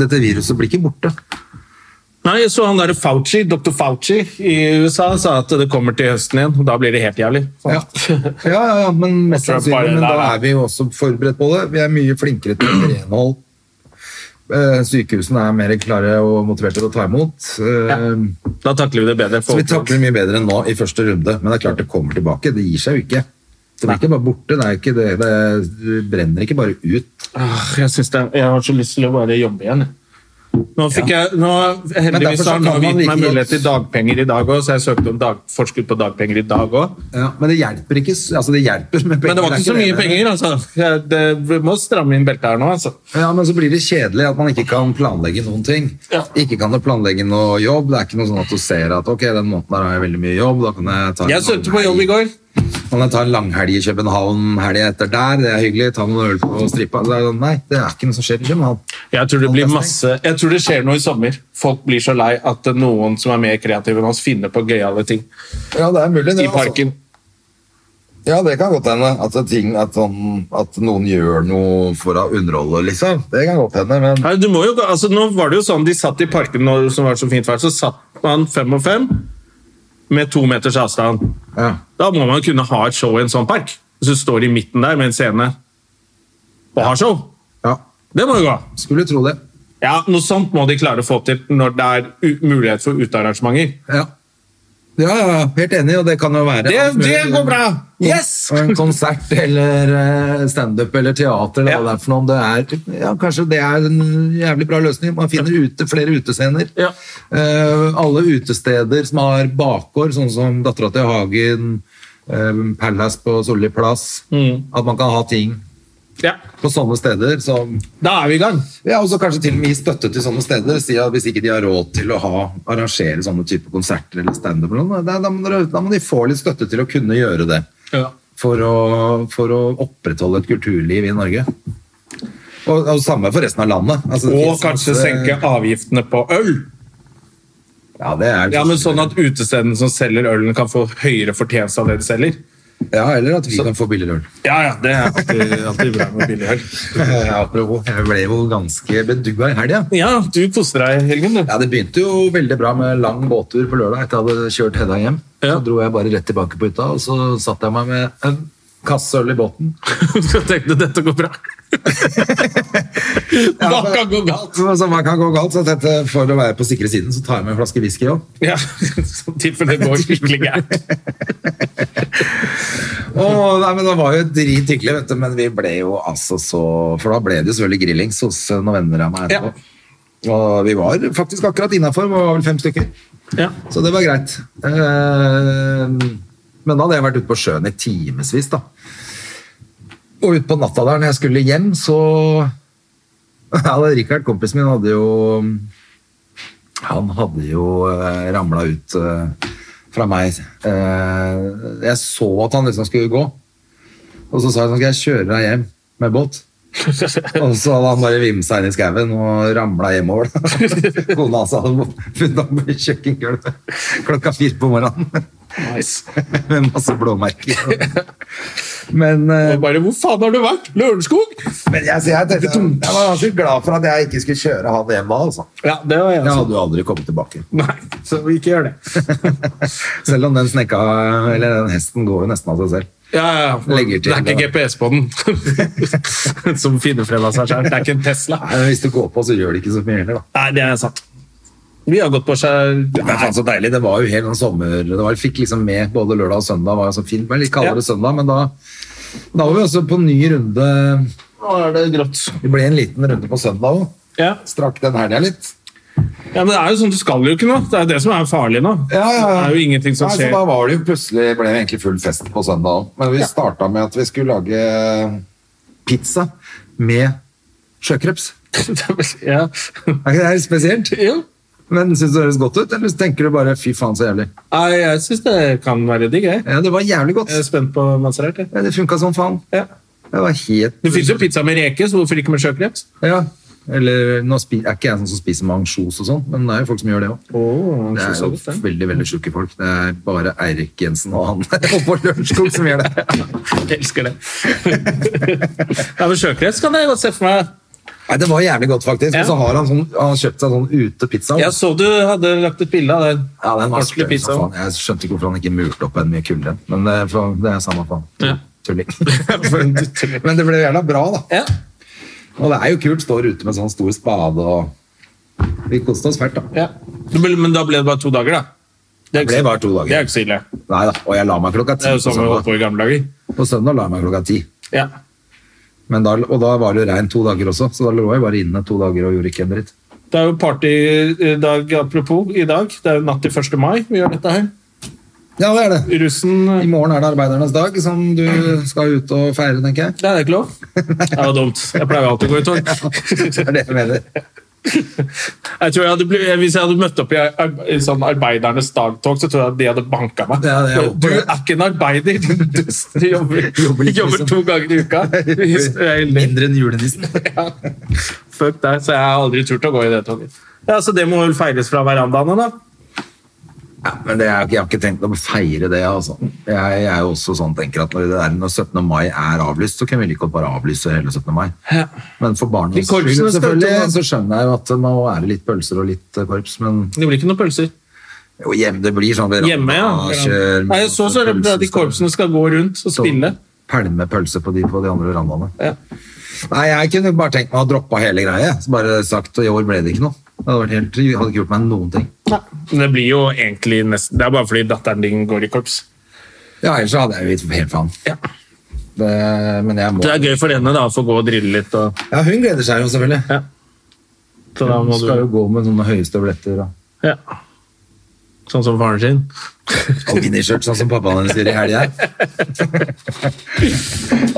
Dette viruset blir ikke borte.
Nei, jeg så han der Fauci, Dr. Fauci i USA sa at det kommer til høsten igjen. og Da blir det helt jævlig.
Ja. ja, ja, ja, men mest
Jeg tror det er
sannsynlig.
bare
Men
der,
da
da.
er vi jo også forberedt på det. Vi er mye flinkere til renhold. Eh, Sykehusene er mer klare og motiverte til å ta imot. Eh,
Da takler vi det bedre.
Så vi takler mye bedre enn nå i første runde. Men det er klart det kommer tilbake. Det gir seg jo ikke. Det blir ikke bare borte. Det, er ikke det. det du brenner ikke bare ut.
Åh, Ah, jeg, synes det, jeg har så lyst til å bare jobbe igjen. jeg. Nå fikk jeg, nå, heldigvis
derfor så
har
kan man
Nav gitt
like
meg mulighet
godt-
til dagpenger i dag òg, så jeg søkte om dag, forskudd på dagpenger i dag òg.
Ja, men det hjelper ikke. s- Altså, det hjelper med penger.
Men det var ikke så mye
det.
penger, altså. Jeg, det, vi må stramme inn beltet her nå, altså.
Ja, men så blir det kjedelig at man ikke kan planlegge noen ting.
Ja.
Ikke kan du planlegge noe jobb. Det er ikke noe sånn at du ser at ok, den måneden her har jeg veldig mye jobb. Da kan jeg ta en
Jeg søkte på jobb i går.
Kan jeg ta en langhelg i København helga etter der? Det er hyggelig. Ta noen øl på strippa. Det er sånn, Nei, det er ikke noe som skjer i København.
Jeg tror det blir
Alt er
masse Jeg tror det skjer noe i sommer. Folk blir så lei at noen som er mer kreative enn oss, finner på gøyale ting
Ja, det er altså- mulig,
i parken.
Ja, det kan godt hende. At, det er ting, at, sånn, at noen gjør noe for å underholde, liksom. Det kan godt hende, men
Nei, du må jo, gå- altså, nå var det jo sånn, De satt i parken når som var så fint vær, så satt man fem og fem med to meters avstand.
ja.
Da må man kunne ha et show i en sånn park. Hvis du står i midten der med en scene og har show.
ja.
Det må jo gå.
Skulle tro det.
Ja, Noe sånt må de klare å få til når det er u mulighet for utearrangementer.
Ja. Ja, ja, ja, helt enig, og det kan jo være
Det, det går bra!
Yes! Og en konsert eller eh, standup eller teater eller
Ja.
hva det er for noe. om Det er, ja, kanskje det er en jævlig bra løsning. Man finner ute, flere utescener.
Ja.
Eh, alle utesteder som har bakgård, sånn som Dattera til Hagen, eh, Palace på Solli plass.
Mm.
At man kan ha ting
Ja,
på sånne steder som
da er vi i gang.
ja, og så kanskje til og med gi støtte til sånne steder. Si at hvis ikke de har råd til å ha, arrangere sånne type konserter eller standup, eller noe, da, da, må dere- da må de få litt støtte til å kunne gjøre det.
Ja.
For å, for å opprettholde et kulturliv i Norge. Og, og samme for resten av landet. Altså, det
Og
finnes
kanskje
masse-
senke avgiftene på øl.
Ja, det er
Ja, men Sånn at utestedene som selger ølen, kan få høyere fortjeneste av det de selger.
ja, eller at vi kan få billigere øl.
Ja, ja, det er alltid, alltid bra med billig øl.
Ja, apropos, jeg ble jo ganske bedugga i helga.
Ja, du koser deg i helgen, du.
Ja, det begynte jo veldig bra med lang båttur på lørdag etter jeg hadde kjørt Hedda hjem.
Ja.
Så dro jeg bare rett tilbake på hytta, og så satt jeg meg med en kasse øl i båten.
Så tenkte du dette går bra. Hva kan gå galt?
Så, så hva kan gå galt? Så jeg tenkte, for å være på sikre siden, så tar jeg med en flaske whisky òg.
Ja, så Tipper det går skikkelig gærent.
Og, nei, men Det var jo drithyggelig, vet du, men vi ble jo altså så For da ble det jo selvfølgelig grillings hos eh, noen venner av meg. etterpå. Og vi var faktisk akkurat innafor, vi var vel fem stykker.
Ja.
Så det var greit. Eh, Men da hadde jeg vært ute på sjøen i timevis, da. Og utpå natta der når jeg skulle hjem, så ja, det er Richard, kompisen min, hadde jo Han hadde jo eh, ramla ut eh, fra meg. Eh, jeg så at han liksom skulle gå, og så sa jeg sånn Skal jeg kjøre deg hjem med båt? Og så hadde han bare vimsa inn i skauen og ramla hjemover. da. Kona hans hadde funnet ham på kjøkkengulvet klokka fire på morgenen
Nice.
med masse blåmerker. Men eh,
Og bare 'Hvor faen har du vært? Lørenskog?'
men jeg, så jeg, tenkte, jeg var ganske glad for at jeg ikke skulle kjøre han hjem da. Altså.
Ja, det var jeg.
Jeg
også.
hadde jo aldri kommet tilbake.
Nei, så ikke gjør det.
Selv om den snekka, eller den hesten går jo nesten av seg selv.
Ja, ja, ja.
Legger til,
det er ikke
ja.
GPS på den som finner frem av seg sjøl. Det er ikke en Tesla.
Nei, men Hvis du går på, så gjør det ikke så mye heller, da.
Nei, det er sant. Vi har gått på seg
Det var faen så deilig. Det var jo helt sånn sommer... Det var, fikk liksom med både lørdag og søndag. var jo så fint, Det var litt kaldere
Ja.
søndag, men da, da var vi også på en ny runde.
Nå er det grått.
Vi ble en liten runde på søndag òg.
Ja.
Strakk den helga litt.
ja, men det er jo sånn, du skal jo ikke noe. Det er det som er farlig nå.
Ja, ja, ja.
Det er jo ingenting som
Nei,
skjer.
Så da var det jo plutselig ble det egentlig full fest på søndag òg. Men vi starta med at vi skulle lage eh, pizza med sjøkreps.
ja.
Er ikke det helt spesielt?
Jo.
Men Syns du det høres godt ut, eller tenker du bare 'fy faen, så jævlig'?
Nei, jeg syns det kan være digg, jeg.
Ja, Det var jævlig godt.
Jeg er spent på hva man ser her. jeg.
Ja, det funka som faen.
Ja.
Det var helt
Det fins jo pizza med reke, så hvorfor ikke med sjøkreps?
Ja. Eller nå spi, er ikke jeg sånn som spiser med ansjos og sånn, men det er jo folk som gjør det òg.
Oh,
Det er jo veldig veldig sjuke folk. Det er bare Eirik Jensen og han oppå Lørenskog som gjør det.
jeg elsker det. ja, men sjøkreps kan jeg godt se for meg.
Nei, Det var jævlig godt, faktisk.
Ja.
Og så har han, sånn, han har kjøpt seg sånn utepizza.
Jeg så du hadde lagt et bilde av den.
Ja, den var
Ordentlig
sprø som
pizza.
faen. Jeg skjønte ikke hvorfor han ikke murte opp en mye kulere en. Men det, er for, det er samme faen.
Ja.
Tulling.
For en tulling.
Men det ble jævla bra, da.
Ja.
Og det er jo kult. Står ute med sånn stor spade og Vi koste oss fælt, da.
Ja. Det ble- Men da ble det bare to dager, da. Det er
Det
ikke,
var to
det er
dager.
ikke så ille.
Nei da. Og jeg la meg klokka
Det
ti
er
på
jo sånn vi holdt
søndag.
på i gamle dager.
På søndag la jeg meg klokka ti.
Ja.
Men da, og da var det jo regn to dager også, så da lå jeg bare inne to dager og gjorde ikke en dritt.
Det er jo partydag, apropos, i dag. Det er jo natt til 1. mai vi gjør dette her.
Ja, det er det.
Russen
I morgen er det arbeidernes dag, som du skal ut og feire, tenker jeg.
Det er ikke lov. Det er jo dumt. Jeg pleier jo alltid å gå i tog.
Det er det jeg mener.
Jeg tror jeg hadde blitt, hvis jeg hadde møtt opp i ar- i sånn arbeidernes dagtog, så tror jeg at de hadde banka meg.
Ja, det- jeg håper
du
det.
er ikke en arbeider! Du, dust. du jobber,
Jobber
jobber,
litt, liksom.
to ganger i uka. Hvis-
Mindre enn julenissen.
Ja. Fuck deg, så jeg har aldri turt å gå i det toget. Ja, Så det må vel feires fra verandaene, da?
Ja, men det er, jo ikke- jeg har ikke tenkt å feire det, altså. Jeg, jeg er jo også sånn tenker at når, det er, når 17. mai er avlyst, så kan vi like godt bare avlyse hele 17. mai. Men
De
for barnas
korpsene
skyld,
skal ut og-
selvfølgelig, så skjønner jeg jo at det må være litt pølser og litt eh, korps, men
Det blir ikke noen pølser.
jo, hjemme, det blir sånn
Hjemme, ja.
verandakjør,
Nei, jeg så så redd for at de korpsene skal gå rundt og
så
spille.
Pælme pølse på de på de andre verandaene.
Ja.
Nei, jeg kunne bare tenkt meg å droppe hele greia. Så bare sagt at i år ble det ikke noe. Det hadde, vært helt, jeg hadde ikke gjort meg noen ting.
Men det blir jo egentlig nesten Det er bare fordi datteren din går i korps.
Ja, ellers så hadde jeg jo gitt helt faen.
Ja.
Det, men jeg må
Det er gøy for denne da, å få gå og drille litt. Og,
Ja, hun gleder seg jo selvfølgelig.
så da
Hun
må
skal jo
du,
gå med sånne høye støvletter og
ja. Sånn som faren sin.
og miniskjørt, sånn som pappaen hennes sier i helga.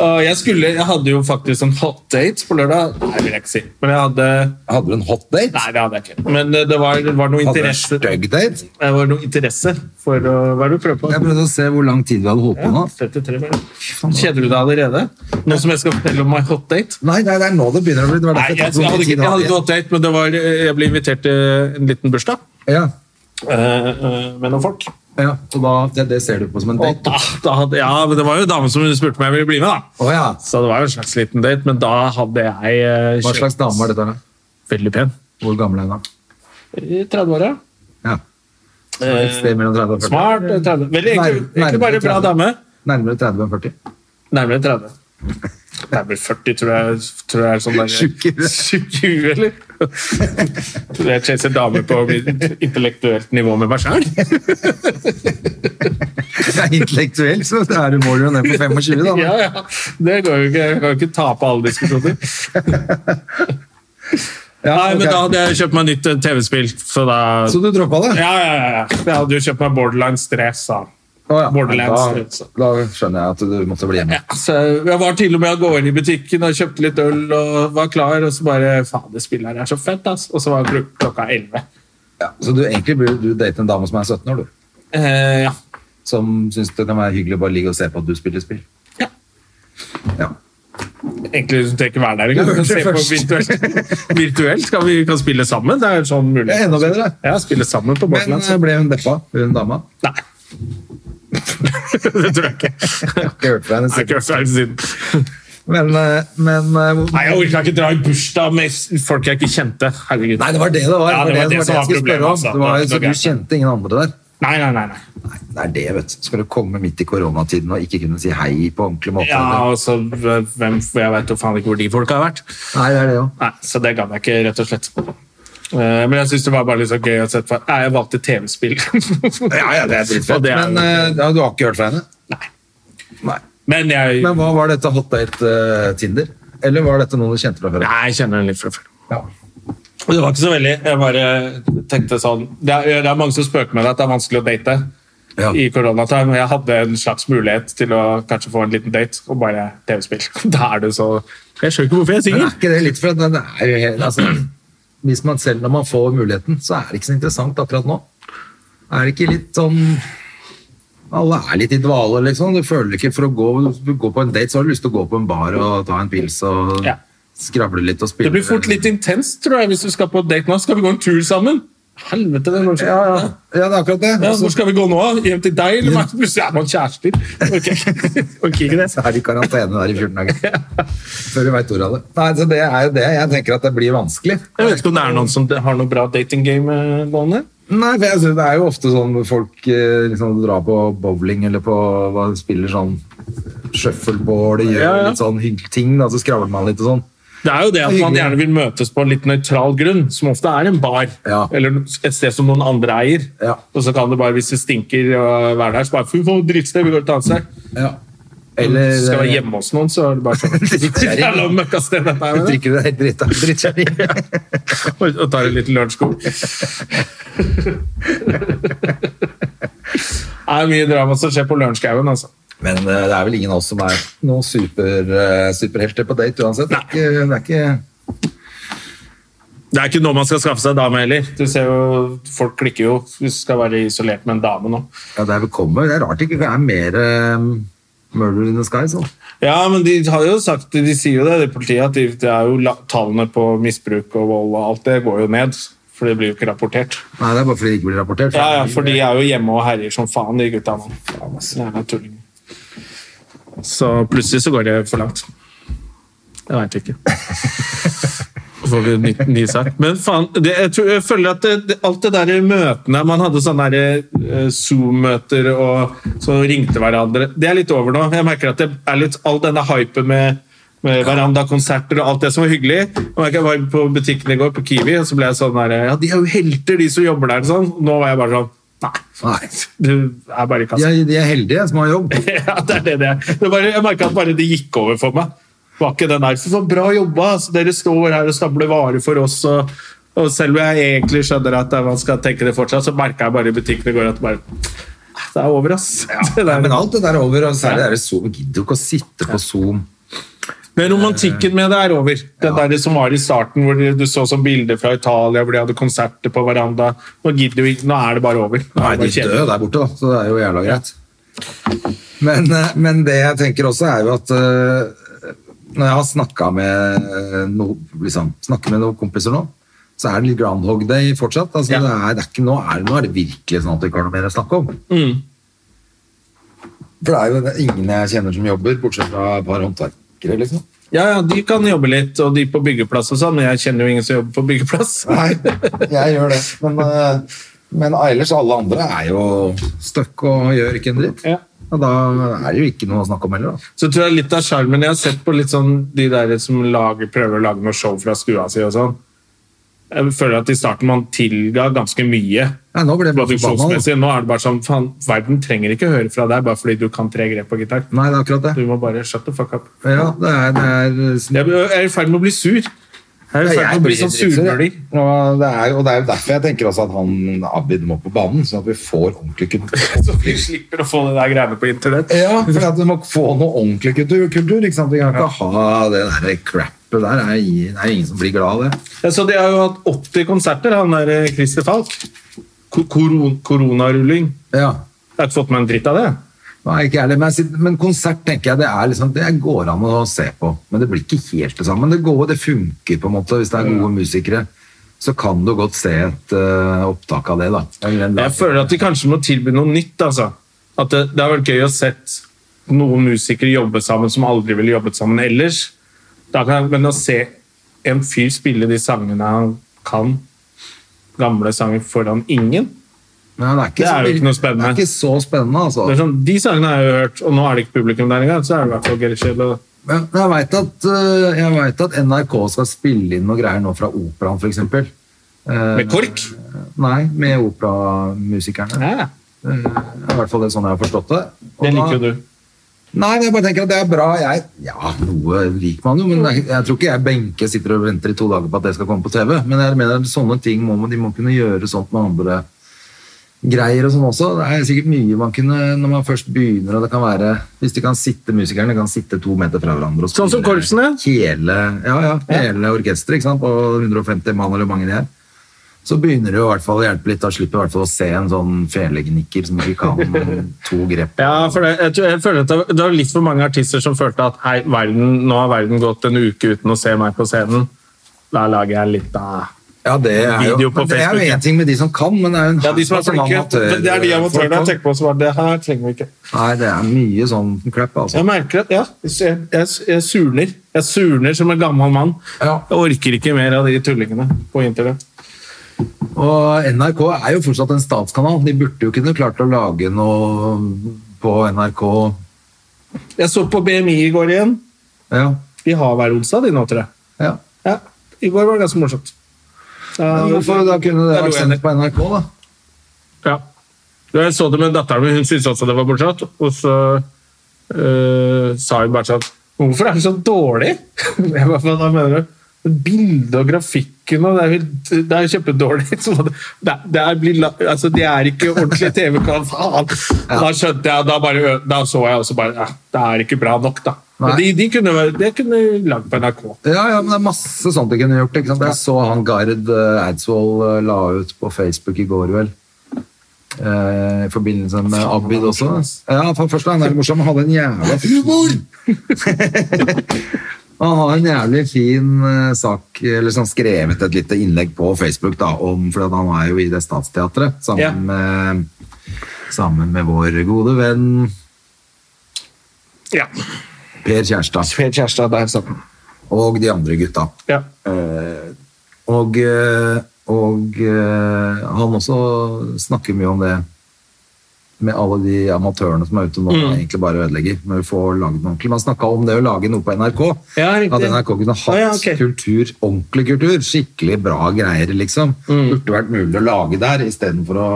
Og jeg, skulle, jeg hadde jo faktisk
Sånn
en hot date på lørdag. Nei, vil jeg ikke si. Men jeg hadde
Hadde du en hot date?
Nei, det hadde jeg ikke. Men eh, det var, det var noe
Hadde du en
interesse.
stygg date?
Det var noe interesse for å Hva er det du prøver på?
Jeg prøvde å se hvor lang tid vi hadde holdt på nå.
33 minutter. Kjeder du deg allerede? Nå som jeg skal fortelle om my hot date?
Nei, nei, det er nå det begynner å bli. Det var
Nei,
derfor
jeg,
jeg
jeg
tok så
hadde
mye
ikke
tid
jeg hadde ikke
av
hot date, men det var, eh, jeg ble invitert til eh, en liten bursdag
det. Ja,
eh, eh, med noen folk.
ja. Og da, det, det ser du på som en
Og
date.
da, da hadde, ja, men Det var jo en dame som spurte om jeg ville bli med, da.
Å ja.
Så det var jo en slags liten date, men da hadde jeg eh,
Hva
kjøpt-
slags dame var dette? da?
Veldig pen.
Hvor gammel er hun da?
I 30-åra.
Ja. Et sted mellom 30 og 40.
Eh, Smart. eh, 30. Veldig, egentlig,
Nærmere
egentlig bare en bra
30.
dame.
Nærmere 30 enn 40.
Nærmere 30. Nærmere 40, tror jeg, tror jeg er sånn der
Tjukk i huet.
Tjukk i huet, eller? Tror jeg chaser damer på å bli intellektuelt nivå med meg sjøl.
Det er intellektuelt, så det er umulig å ned på 25, da.
Ja, ja. Det går jo ikke. Jeg kan jo ikke tape alle diskusjoner.
Ja,
Nei, men
ok.
da hadde jeg kjøpt meg nytt eh, TV-spill, så da
Så du droppa det?
ja, ja, ja. ja. Jeg hadde jo kjøpt meg Borderlands 3, sa han.
Å, ja.
Borderlands.
Da, da skjønner jeg at du måtte bli hjemme.
Ja, så jeg var til og med å gå inn i butikken og kjøpte litt øl og var klar, og så bare Faen, det spillet her er så fett, ass. Og så var klok klokka 11.
Ja. Så du egentlig burde du date en dame som er 17 år, du.
Eh, ja.
Som syns det kan være hyggelig å bare ligge og se på at du spiller spill.
Ja.
Ja.
Egentlig trenger jeg ikke være der engang. Vi
Du
kan
hørte
se på
først.
virtuelt. virtuelt kan vi kan spille sammen. Det er sånn mulig.
Det er enda bedre.
Ja, spille sammen på
Men
Borderlands.
eh, ble hun deppa, hun dama?
Nei. det tror jeg ikke. Jeg
Ikke hørt fra henne
har ikke
siden.
hørt fra henne siden.
Men, eh, men eh, hvor-
Nei, jeg orka ikke dra i bursdag med s- folk jeg ikke kjente. Herregud.
Nei, det var det det var.
Ja, det var det som var
jeg skulle
problemet,
spørre om.
altså.
Det var,
Det var
så
ikke noe
du kjente ingen andre der?
Nei, nei, nei. nei.
Nei, det er det, vet du. Skal du komme midt i koronatiden og ikke kunne si hei på ordentlig måte?
Ja,
eller?
altså, hvem, Jeg veit jo faen ikke hvor de folka har vært.
Nei, det er det jo.
Nei, Så det gadd jeg ikke, rett og slett. Eh, Men jeg syns det var bare litt så gøy å se på. Nei, Jeg valgte TV-spill.
Ja, ja, det
Og
er dritfett.
det er
Men
jo-
eh, ja, du har ikke hørt fra henne?
Nei.
Nei.
Men jeg
Men hva var dette hot date eh, Tinder? Eller var dette noe du kjente fra før?
Nei, jeg kjenner den litt fra før.
Ja.
Og Det var ikke så veldig. Jeg bare tenkte sånn Det er, det er mange som spøker med det at det er vanskelig å date
Ja.
i koronatime. og Jeg hadde en slags mulighet til å kanskje få en liten date og bare TV-spill. Da er det så Jeg skjønner ikke hvorfor jeg er
Men
singel.
er ikke det litt for at den er jo helt, altså, hvis man selv når man får muligheten, så er det ikke så interessant akkurat nå. Er det ikke litt sånn Alle er litt i dvale, liksom. Du føler ikke for å gå, du går på en date, så har du lyst til å gå på en bar og ta en pils og
Ja.
skravle litt og spille.
Det blir fort litt intenst, tror jeg, hvis du skal på date nå. Skal vi gå en tur sammen? Helvete, det er noe
Ja, ja. ja, det er akkurat det.
Ja,
Og så-
hvor skal vi gå nå? Hjem til deg, eller? hva? Plutselig er man kjærester. Okay. Orker ikke det.
så er de i karantene der i 14 dager. Før du veit ordet av det. Nei, så det er jo det. Jeg tenker at det blir vanskelig.
Jeg vet ikke om det er noen som har noe bra dating game eh, gående.
Nei, for jeg synes Det er jo ofte sånn folk eh, liksom, drar på bowling eller på hva, spiller sånn shuffleboard og gjør
Ja, ja.
litt sånn hyggelige ting. Da, så skravler man litt og sånn.
Det er jo det at man
Hyggelig.
gjerne vil møtes på en litt nøytral grunn, som ofte er en bar.
Ja.
Eller et sted som noen andre eier.
Ja.
Og så kan det bare, hvis det stinker å være der, så bare fy, for et drittsted, vi går et annet sted.
Eller eh,
Skal være hjemme hos noen, så er det bare sånn.
Drittkjerring.
Jævla møkkasted dette
Du
er. det.
drikker deg dritt, drittkjerring.
Og og tar en liten lunsjsko. Det er mye drama som skjer på Lørenskauen, altså.
Men eh, det er vel ingen av oss som er noen super, eh, superhelter på date uansett. Det er ikke, det er ikke
Det er ikke noe man skal skaffe seg dame heller. Du ser jo, Folk klikker jo hvis du skal være isolert med en dame nå.
ja, det er velkommen. Det er rart det ikke er mer eh, murder in the sky. Sånn.
Ja, men de har jo sagt, de sier jo det, det politiet, at de, det er jo la, tallene på misbruk og vold og alt det går jo ned. For det blir jo ikke rapportert.
Nei, det er bare fordi det ikke blir rapportert.
Ja, ja, For de er jo hjemme og herjer som faen, de gutta nå. Jævla tullinger. Så plutselig så går det for langt. Jeg veit ikke. Får vi en ny, ny sak. Men faen, det, jeg, tror, jeg føler at det, det, alt det der i møtene Man hadde sånne der, eh, Zoom-møter og så ringte hverandre. Det er litt over nå. Jeg merker at det er litt all denne hypen med, med verandakonserter og alt det som var hyggelig. Jeg, merker jeg var på butikken i går, på Kiwi, og så ble jeg sånn der Ja, de er jo helter, de som jobber der. og Sånn. Nå var jeg bare sånn Nei.
Nei.
Du er bare i
De
kassa.
er, de er heldige som har jobb.
Ja, det er det det er. Det er bare, jeg merka at bare det gikk over for meg. Det Var ikke den der, så bra jobba! Altså, dere står her og stabler varer for oss. Og, og selv om jeg egentlig skjønner at man skal tenke det fortsatt, så merka jeg bare i butikken i går at bare, det er over, ass. Det der-
Men alt det der er over, og særlig det der Zoom. Jeg Gidder jo ikke å sitte på Zoom.
Men romantikken med det er over. Den der som var i starten, hvor du så sånn bilder fra Italia, hvor de hadde konserter på veranda. Nå gidder vi ikke, nå er det bare over. Nå
Nei,
er det bare
de dør
kjedelig.
jo der borte, da, så det er jo jævla greit. Men, eh, men det jeg tenker også, er jo at eh, når jeg har snakka med, eh, no, liksom, snakket med noen kompiser nå, så er det litt groundhog day fortsatt. Altså,
Ja.
det er, det er ikke, nå, er det, nå er det virkelig sånn at vi ikke har noe mer å snakke om.
Mm.
For det er jo det er ingen jeg kjenner som jobber, bortsett fra et par håndverkere, liksom.
Ja, ja, de kan jobbe litt, og de på byggeplass og sånn, men jeg kjenner jo ingen som jobber på byggeplass.
Nei, jeg gjør det. Men, eh, men ellers, alle andre er jo støkk og gjør ikke en dritt.
Ja.
Og da er det jo ikke noe å snakke om heller, da.
Så tror jeg litt av sjarmen Jeg har sett på litt sånn de der som lager, prøver å lage noe show fra stua si og sånn. Jeg føler at i starten man tilga ganske mye
Nei, nå ble jeg bare forbanna. da.
produksjonsmessig. Nå er det bare sånn faen, verden trenger ikke høre fra deg bare fordi du kan tre grep på gitar.
Nei, det er akkurat
Du
det.
må bare shut the fuck up.
Ja, det er, det er
Jeg er i ferd med å bli sur. Jeg er i ferd med å bli sånn surmuling.
Og det er, og det er jo derfor jeg tenker også at han Abid må på banen, sånn at vi får ordentlig kultur.
Så vi slipper å få det der greiene på internett.
Ja, for at vi må få noe ordentlig kultur. kultur ikke sant? Vi kan ikke ha det der crappet der. Det er ingen- det er ingen som blir glad av det.
Jeg så de har jo hatt 80 konserter, han der eh, Christer Falk. Ko- koron- Koronarulling.
Ja.
Jeg har ikke fått meg en dritt av det.
Nei, ikke ærlig, men, jeg sitter- men konsert tenker jeg det er liksom, det går an å se på. Men det blir ikke helt det samme. Men det, går, det funker på en måte. Hvis det er gode musikere, så kan du godt se et eh, opptak av det. da. Eller en
Jeg føler at de kanskje må tilby noe nytt. altså. At det, det har vært gøy å sett noen musikere jobbe sammen som aldri ville jobbet sammen ellers. Da kan, men å se en fyr spille de sangene han kan, gamle sanger, foran ingen
Ja, det er, ikke
Det er
så-
jo ikke noe spennende.
Det er ikke så spennende, altså.
det er sånn, De sangene har jeg jo hørt, og nå er det ikke publikum der engang. så er det i hvert fall gøy skjell og...
Men jeg vet at, øh, jeg vet at NRK skal spille inn noe greier nå fra operaen, for eksempel. Eh,
Med KORK!
Nei, med operamusikerne.
Ja,
Eh, I hvert fall det er sånn jeg har forstått det. Og
det liker
da-
jo du.
Nei, men jeg bare tenker at det er bra. Jeg, ja, noe liker man jo, men jeg, jeg tror ikke jeg benke sitter og venter i to dager på at det skal komme på TV. Men jeg mener at sånne ting må man, de må kunne gjøre sånt med andre greier og sånn også. Det er sikkert mye man kunne, når man først begynner, og det kan være Hvis de kan sitte, musikerne kan sitte to meter fra hverandre og
Sånn som korpsene?
hele, ja, ja, hele orkesteret, ikke sant, på 150 mann eller hvor mange de er. Så begynner det jo i hvert fall å hjelpe litt. Da slipper jeg i hvert fall å se en sånn felegnikker som ikke kan to grep.
Ja, for det, jeg, tror, jeg føler at det, var- det var litt for mange artister som følte at hei, verden, nå har verden gått en uke uten å se meg på scenen. Da lager jeg litt av
Ja, det er jo,
Video på
men det er jo
Facebook, ja.
en ting med de som kan, men det er jo en
Ja, de som er
sånn
flinke.
amatør-
Det er de amatørene jeg
folk,
tenker på som bare Det her trenger vi ikke.
Nei, det er mye sånn crap, altså.
Jeg merker at ja, jeg, jeg, jeg surner. Jeg surner som en gammel mann.
Ja.
Jeg orker ikke mer av de tullingene på internett.
Og NRK er jo fortsatt en statskanal. De burde jo kunne klart å lage noe på NRK.
Jeg så på BMI i går igjen.
Ja,
De har hver onsdag, de nå, tror jeg.
ja.
Ja, I går var det ganske morsomt.
Men hvorfor da kunne det
Jeg lo
vært sendt
enig.
på NRK, da?
Ja. Da Jeg så det med datteren min, hun syntes også det var bortsatt. Og så eh, sa hun bare sånn Hvorfor er det så dårlig? Jeg bare, Hva da mener du? Bildet og grafikken og Det er, helt, det er kjempedårlig. Så det, det, er- det, er, blir la- altså, det er ikke ordentlig TV-kanal. Faen! Da skjønte jeg, da, bare, ø- da så jeg også bare ja, Det er ikke bra nok, da. Men
Nei.
de, de kunne, vært- det kunne lagd på NRK.
Ja, ja, men det er masse sånt de kunne gjort. ikke sant? Jeg så han Gard eh, Eidsvoll eh, la ut på Facebook i går, vel. Eh, I forbindelse med Abid også. Ja, for først er han er morsom. Han hadde en jævla Humor! han har en jævlig fin eh, sak, eller sånn skrevet et lite innlegg på Facebook, da, om, for at han er jo i det statsteatret, sammen,
Ja.
med, sammen med vår gode venn
Ja.
Per Kjærstad.
Per Kjærstad der satt den.
Og de andre gutta.
Ja.
Eh, og eh, og eh, han også snakker mye om det med alle de amatørene som er ute nå,
Mm.
egentlig bare ødelegger. Men vi får laget noe ordentlig. Man snakka om det å lage noe på NRK.
Ja, riktig.
at NRK kunne hatt
Å, ja, ok.
kultur, ordentlig kultur.
Mm.
Skikkelig bra greier, liksom. Burde vært mulig å lage der istedenfor å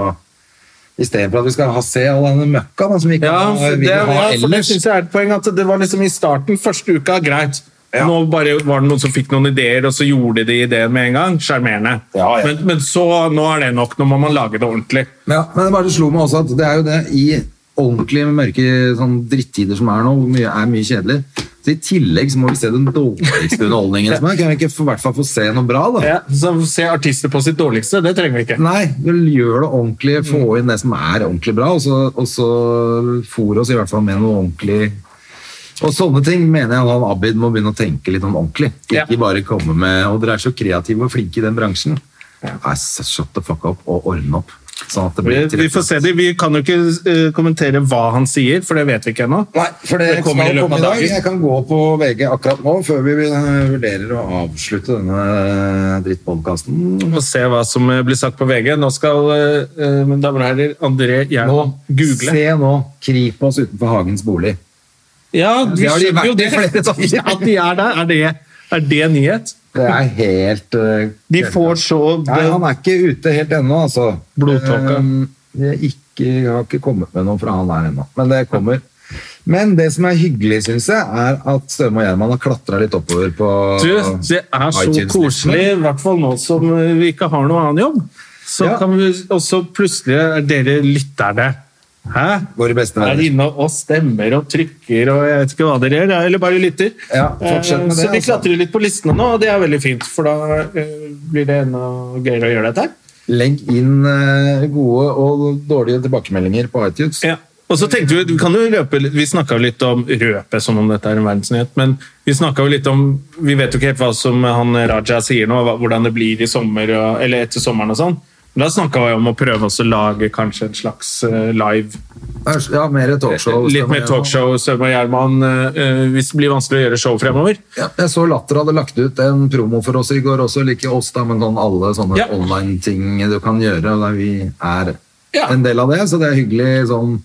Istedenfor at vi skal ha, se all denne møkka da, som vi ikke
Ja,
har-
for
vil
det,
ha
ja, for det
ellers.
synes jeg er et poeng at det var liksom i starten, første uka, greit.
Ja.
Nå bare var det noen som fikk noen ideer, og så gjorde de ideen med en gang. Sjarmerende.
Ja, ja.
Men, men så, nå er det nok. Nå må man lage det ordentlig.
Ja, men det bare slo meg også at det er jo det i ordentlige mørke sånn drittider som er nå, hvor mye er mye kjedelig. Så I tillegg så må vi se den dårligste underholdningen som er. Kan vi ikke få- i hvert fall få se noe bra, da?
Ja, så se artister på sitt dårligste, det trenger vi ikke.
Nei, du gjør det ordentlig,
Mm.
få inn det som er ordentlig bra, og så, og så fôr oss i hvert fall med noe ordentlig og sånne ting mener jeg han Abid må begynne å tenke litt om ordentlig. Ikke
Ja.
bare komme med Og dere er så kreative og flinke i den bransjen. Nei, shut the fuck up og ordne opp. Sånn at det
Vi,
blir
vi får se det. Vi kan jo ikke eh, kommentere hva han sier, for det vet vi ikke ennå.
Nei, for det,
Det kommer
skal
i løpet
komme
av
i dag.
dagen.
Jeg kan gå på VG akkurat nå, før vi eh, vurderer å avslutte denne eh, drittpodkasten.
Vi får se hva som eh, blir sagt på VG. Nå skal eh, eh, mine damer og herrer, André Gjern google.
Se nå Kripos utenfor Hagens bolig.
Ja, vi
Det har de
skjønner jo
vært i
det.
flere dager.
At de er der, er det, er det nyhet?
Det er helt eh,
De får så
Nei, han er ikke ute helt ennå, altså.
Blodtåka.
Eh, det er ikke, jeg har ikke kommet med noe fra han der ennå, men det kommer. Men det som er hyggelig, syns jeg, er at Støme og Gjerman har klatra litt oppover på
Du, det er så
iTunes-listen.
koselig, i hvert fall nå som eh, vi ikke har noen annen jobb. Så
Ja.
kan vi også plutselig er dere lytterne. Hæ?
Våre beste
Er
venner.
inne og stemmer og trykker og jeg vet ikke hva dere gjør, eller bare lytter.
Ja, fortsett
Eh,
med det,
Så vi
altså.
klatrer litt på listene nå, og det er veldig fint, for da eh, blir det enda gøyere å gjøre dette her.
Legg inn eh, gode og dårlige tilbakemeldinger på iTunes.
Ja. Og så tenkte Vi vi kan jo røpe, litt- vi snakka litt om røpe som om dette er en verdensnyhet, men vi snakket jo litt om Vi vet jo ikke helt hva som han Raja sier nå, hva- hvordan det blir i sommer og, eller etter sommeren og sånn. Men da snakka vi om å prøve oss å lage kanskje et slags eh, live
Ja, mer talkshow.
Litt mer talkshow, Sømme og Gjerman, eh, eh, hvis det blir vanskelig å gjøre show fremover.
Ja, jeg så Latter hadde lagt ut en promo for oss i går også, like oss da, men sånn alle sånne
Ja.
online-ting du kan gjøre, og der vi er
Ja.
en del av det, så det er hyggelig sånn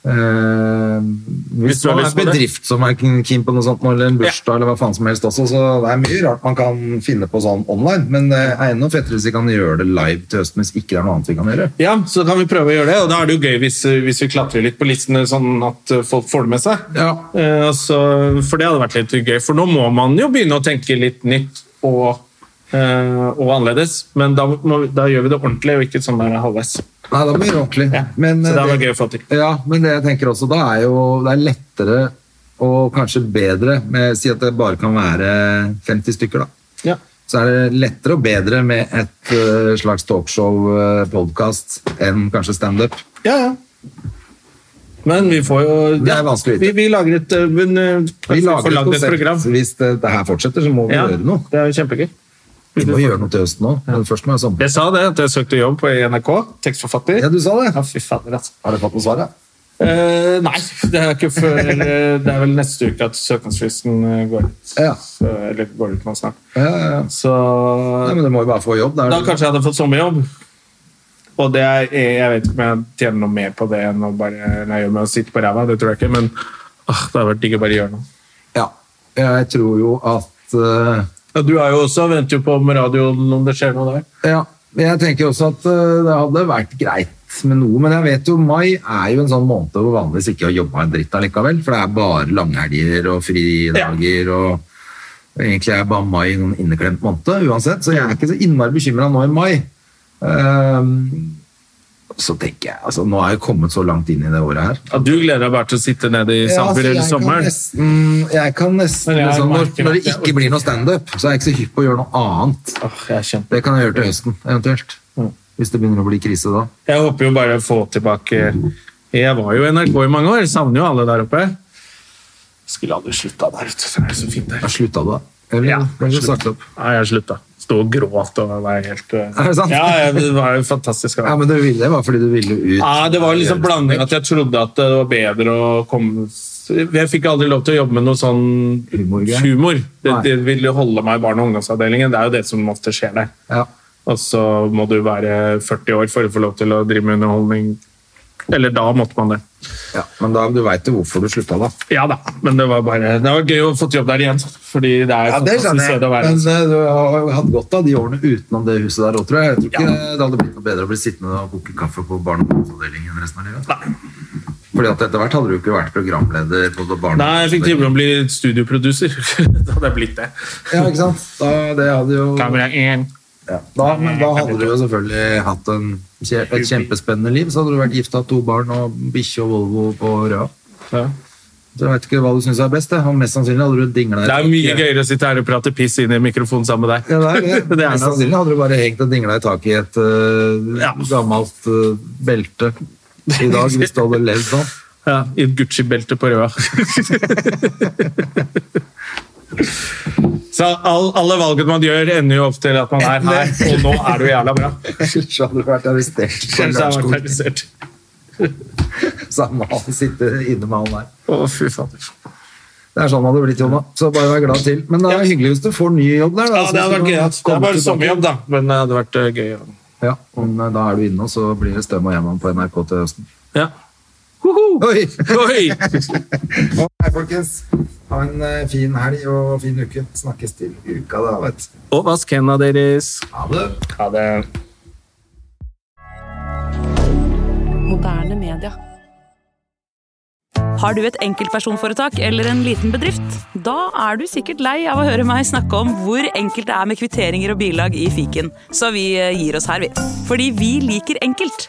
eh, hvis
Hvis du har
man er
lyst på det.
bedrift som er keen på noe sånt, eller en bursdag, eller hva faen som helst også, så det er mye rart man kan finne på sånn online, men det er enda fettere hvis vi kan gjøre det live til høsten, hvis ikke det er noe annet vi kan gjøre.
Ja, så kan vi prøve å gjøre det, og da er det jo gøy hvis, eh, hvis vi klatrer litt på listene, sånn at eh, folk får det med seg.
Ja.
Eh, altså, for det hadde vært litt gøy, for nå må man jo begynne å tenke litt nytt og, eh, og annerledes, men da, må, vi- da gjør vi det ordentlig, og ikke sånn der halvveis.
Nei, da blir det ordentlig.
Ja,
Men,
så
eh,
det var gøy å få til.
Ja, men det jeg tenker også da er jo det er lettere og kanskje bedre med Si at det bare kan være 50 stykker, da.
Ja.
Så er det lettere og bedre med et eh, slags talkshow-podkast enn kanskje standup.
ja, ja. Men vi får jo...
Det er vanskelig å vite.
Vi, vi lager et... eh, Men, eh, kanskje
Vi
vi
lager
får
et
laget et program.
konsept. Hvis det, det her fortsetter, så må vi
Ja,
gjøre noe.
det er jo kjempegøy.
Vi må gjøre noe til høsten òg. Men først må jeg sommer.
Jeg sa det, at jeg søkte jobb på NRK, tekstforfatter.
Ja, du sa det.
Ja, fy fader, altså.
Har du fått noe svar, ja?
Eh, nei, det er, ikke før, eller, det er vel neste uke at søknadsfristen eh, går ut.
Ja.
Så, eller går ut nå snart.
Ja, ja, ja.
Så
Nei, men du må jo bare få jobb. Da er
da
det-
kanskje jeg hadde fått sommerjobb. Og det er, jeg vet ikke om jeg tjener noe mer på det enn å bare nei, med å sitte på ræva. Det tror jeg ikke, men ah, det hadde vært digg å bare gjøre noe.
Ja. Jeg tror jo at eh,
Ja, du er jo også, venter jo på med radioen om det skjer noe der.
Ja, men jeg tenker også at eh, det hadde vært greit med noe, men jeg vet jo mai er jo en sånn måned hvor vanligvis ikke har jobba en dritt allikevel, for det er bare langhelger og fridager og Egentlig er bare mai en inneklemt måned uansett, så jeg er ikke så innmari bekymra nå i mai. Ehm, så tenker jeg, altså Nå er jeg kommet så langt inn i det året her.
Ja, du gleder deg bare til å sitte nede i
Ja, altså,
Sandfjord hele
jeg kan
sommeren.
nesten, Mm, jeg kan nesten
Men jeg
liksom, når,
merker
når
at
det
jeg
ikke blir noe standup, så er jeg ikke så hypp på å gjøre noe annet.
Åh, jeg, er kjempe-
Det kan jeg gjøre til høsten, eventuelt. Hvis det begynner å bli krise da.
jeg håper jo bare å få tilbake Jeg var jo i NRK i mange år, savner jo alle der oppe. Skulle aldri slutta der ute, for det er så fint der.
Da slutta du, da. Eller
Ja,
ble du sagt opp?
Nei, jeg slutta. Sto og gråt og var helt Er
det sant?
Ja, jeg- det var jo fantastisk.
Ja,
Ja,
men du ville det var fordi du ville ut.
det var liksom blanding at jeg trodde at det var bedre å komme Jeg fikk aldri lov til å jobbe med noe sånn
Humorgreier.
humor. Det,
Nei.
det ville holde meg i barne- og ungdomsavdelingen. Det er jo det som ofte skjer der.
Ja.
Og så må du være 40 år for å få lov til å drive med underholdning Eller da måtte man det.
Ja, men da, du veit jo hvorfor du slutta, da.
Ja da, men det var bare Det var gøy å få jobb der igjen. Fordi det er
Ja, det
fantastisk
skjønner jeg.
sted å være.
Men eh, du har jo hatt godt av de årene utenom det huset der òg, tror jeg. Jeg tror ikke det hadde blitt noe bedre å bli sittende og koke kaffe på barne- og ungdomsavdelingen resten av livet. Fordi at etter hvert hadde du ikke vært programleder på barne- og
Nei, jeg fikk tilbud om å bli studioproduser. da hadde jeg blitt det.
Ja, ikke sant? Da, det hadde jo
Kamera én.
ja. da, Men da hadde du jo selvfølgelig hatt en, kje- et kjempespennende liv. Så hadde du vært gifta, hatt to barn og bikkje og Volvo på Røa.
Ja.
Så jeg vet ikke hva du syns er best. Det. Og mest sannsynlig hadde du dingla
Det er mye gøyere å sitte her og prate piss inn i mikrofonen sammen med deg.
Ja, det er det.
det er
Mest
det.
sannsynlig hadde du bare hengt og dingla i taket i et øh,
Ja.
gammelt øh, belte i dag, hvis du hadde levd sånn.
Ja, I et Gucci-belte på røda. Så all, alle valgene man gjør, ender jo opp til at man er her, og nå er det jo jævla bra.
Ellers hadde du vært arrestert på
Ellers er man
Lørenskog.
realisert.
Samme han sitter inne med han der.
Å, fy fader.
Det er sånn det hadde blitt, Jonna. Så bare vær glad til. Men det er hyggelig hvis du får ny jobb der. da.
Ja,
Så
det hadde
skal
vært gøy.
du
Det er
komme
bare
tilbake.
sommerjobb, da. Men det hadde vært eh, gøy. å-
Ja, men øh, da er du inne, og så blir det Støm og Gjerman på NRK til høsten.
Ja.
Oi!
Oi!
Hei, folkens. Ha en øh, fin helg og fin uke. Snakkes til uka, da, vet du.
Og vask hendene deres.
Ha det.
Ha det.
Moderne media.
Har du et enkeltpersonforetak eller en liten bedrift? Da er du sikkert lei av å høre meg snakke om hvor enkelt det er med kvitteringer og bilag i fiken, så vi eh, gir oss her, vi. Fordi vi liker enkelt.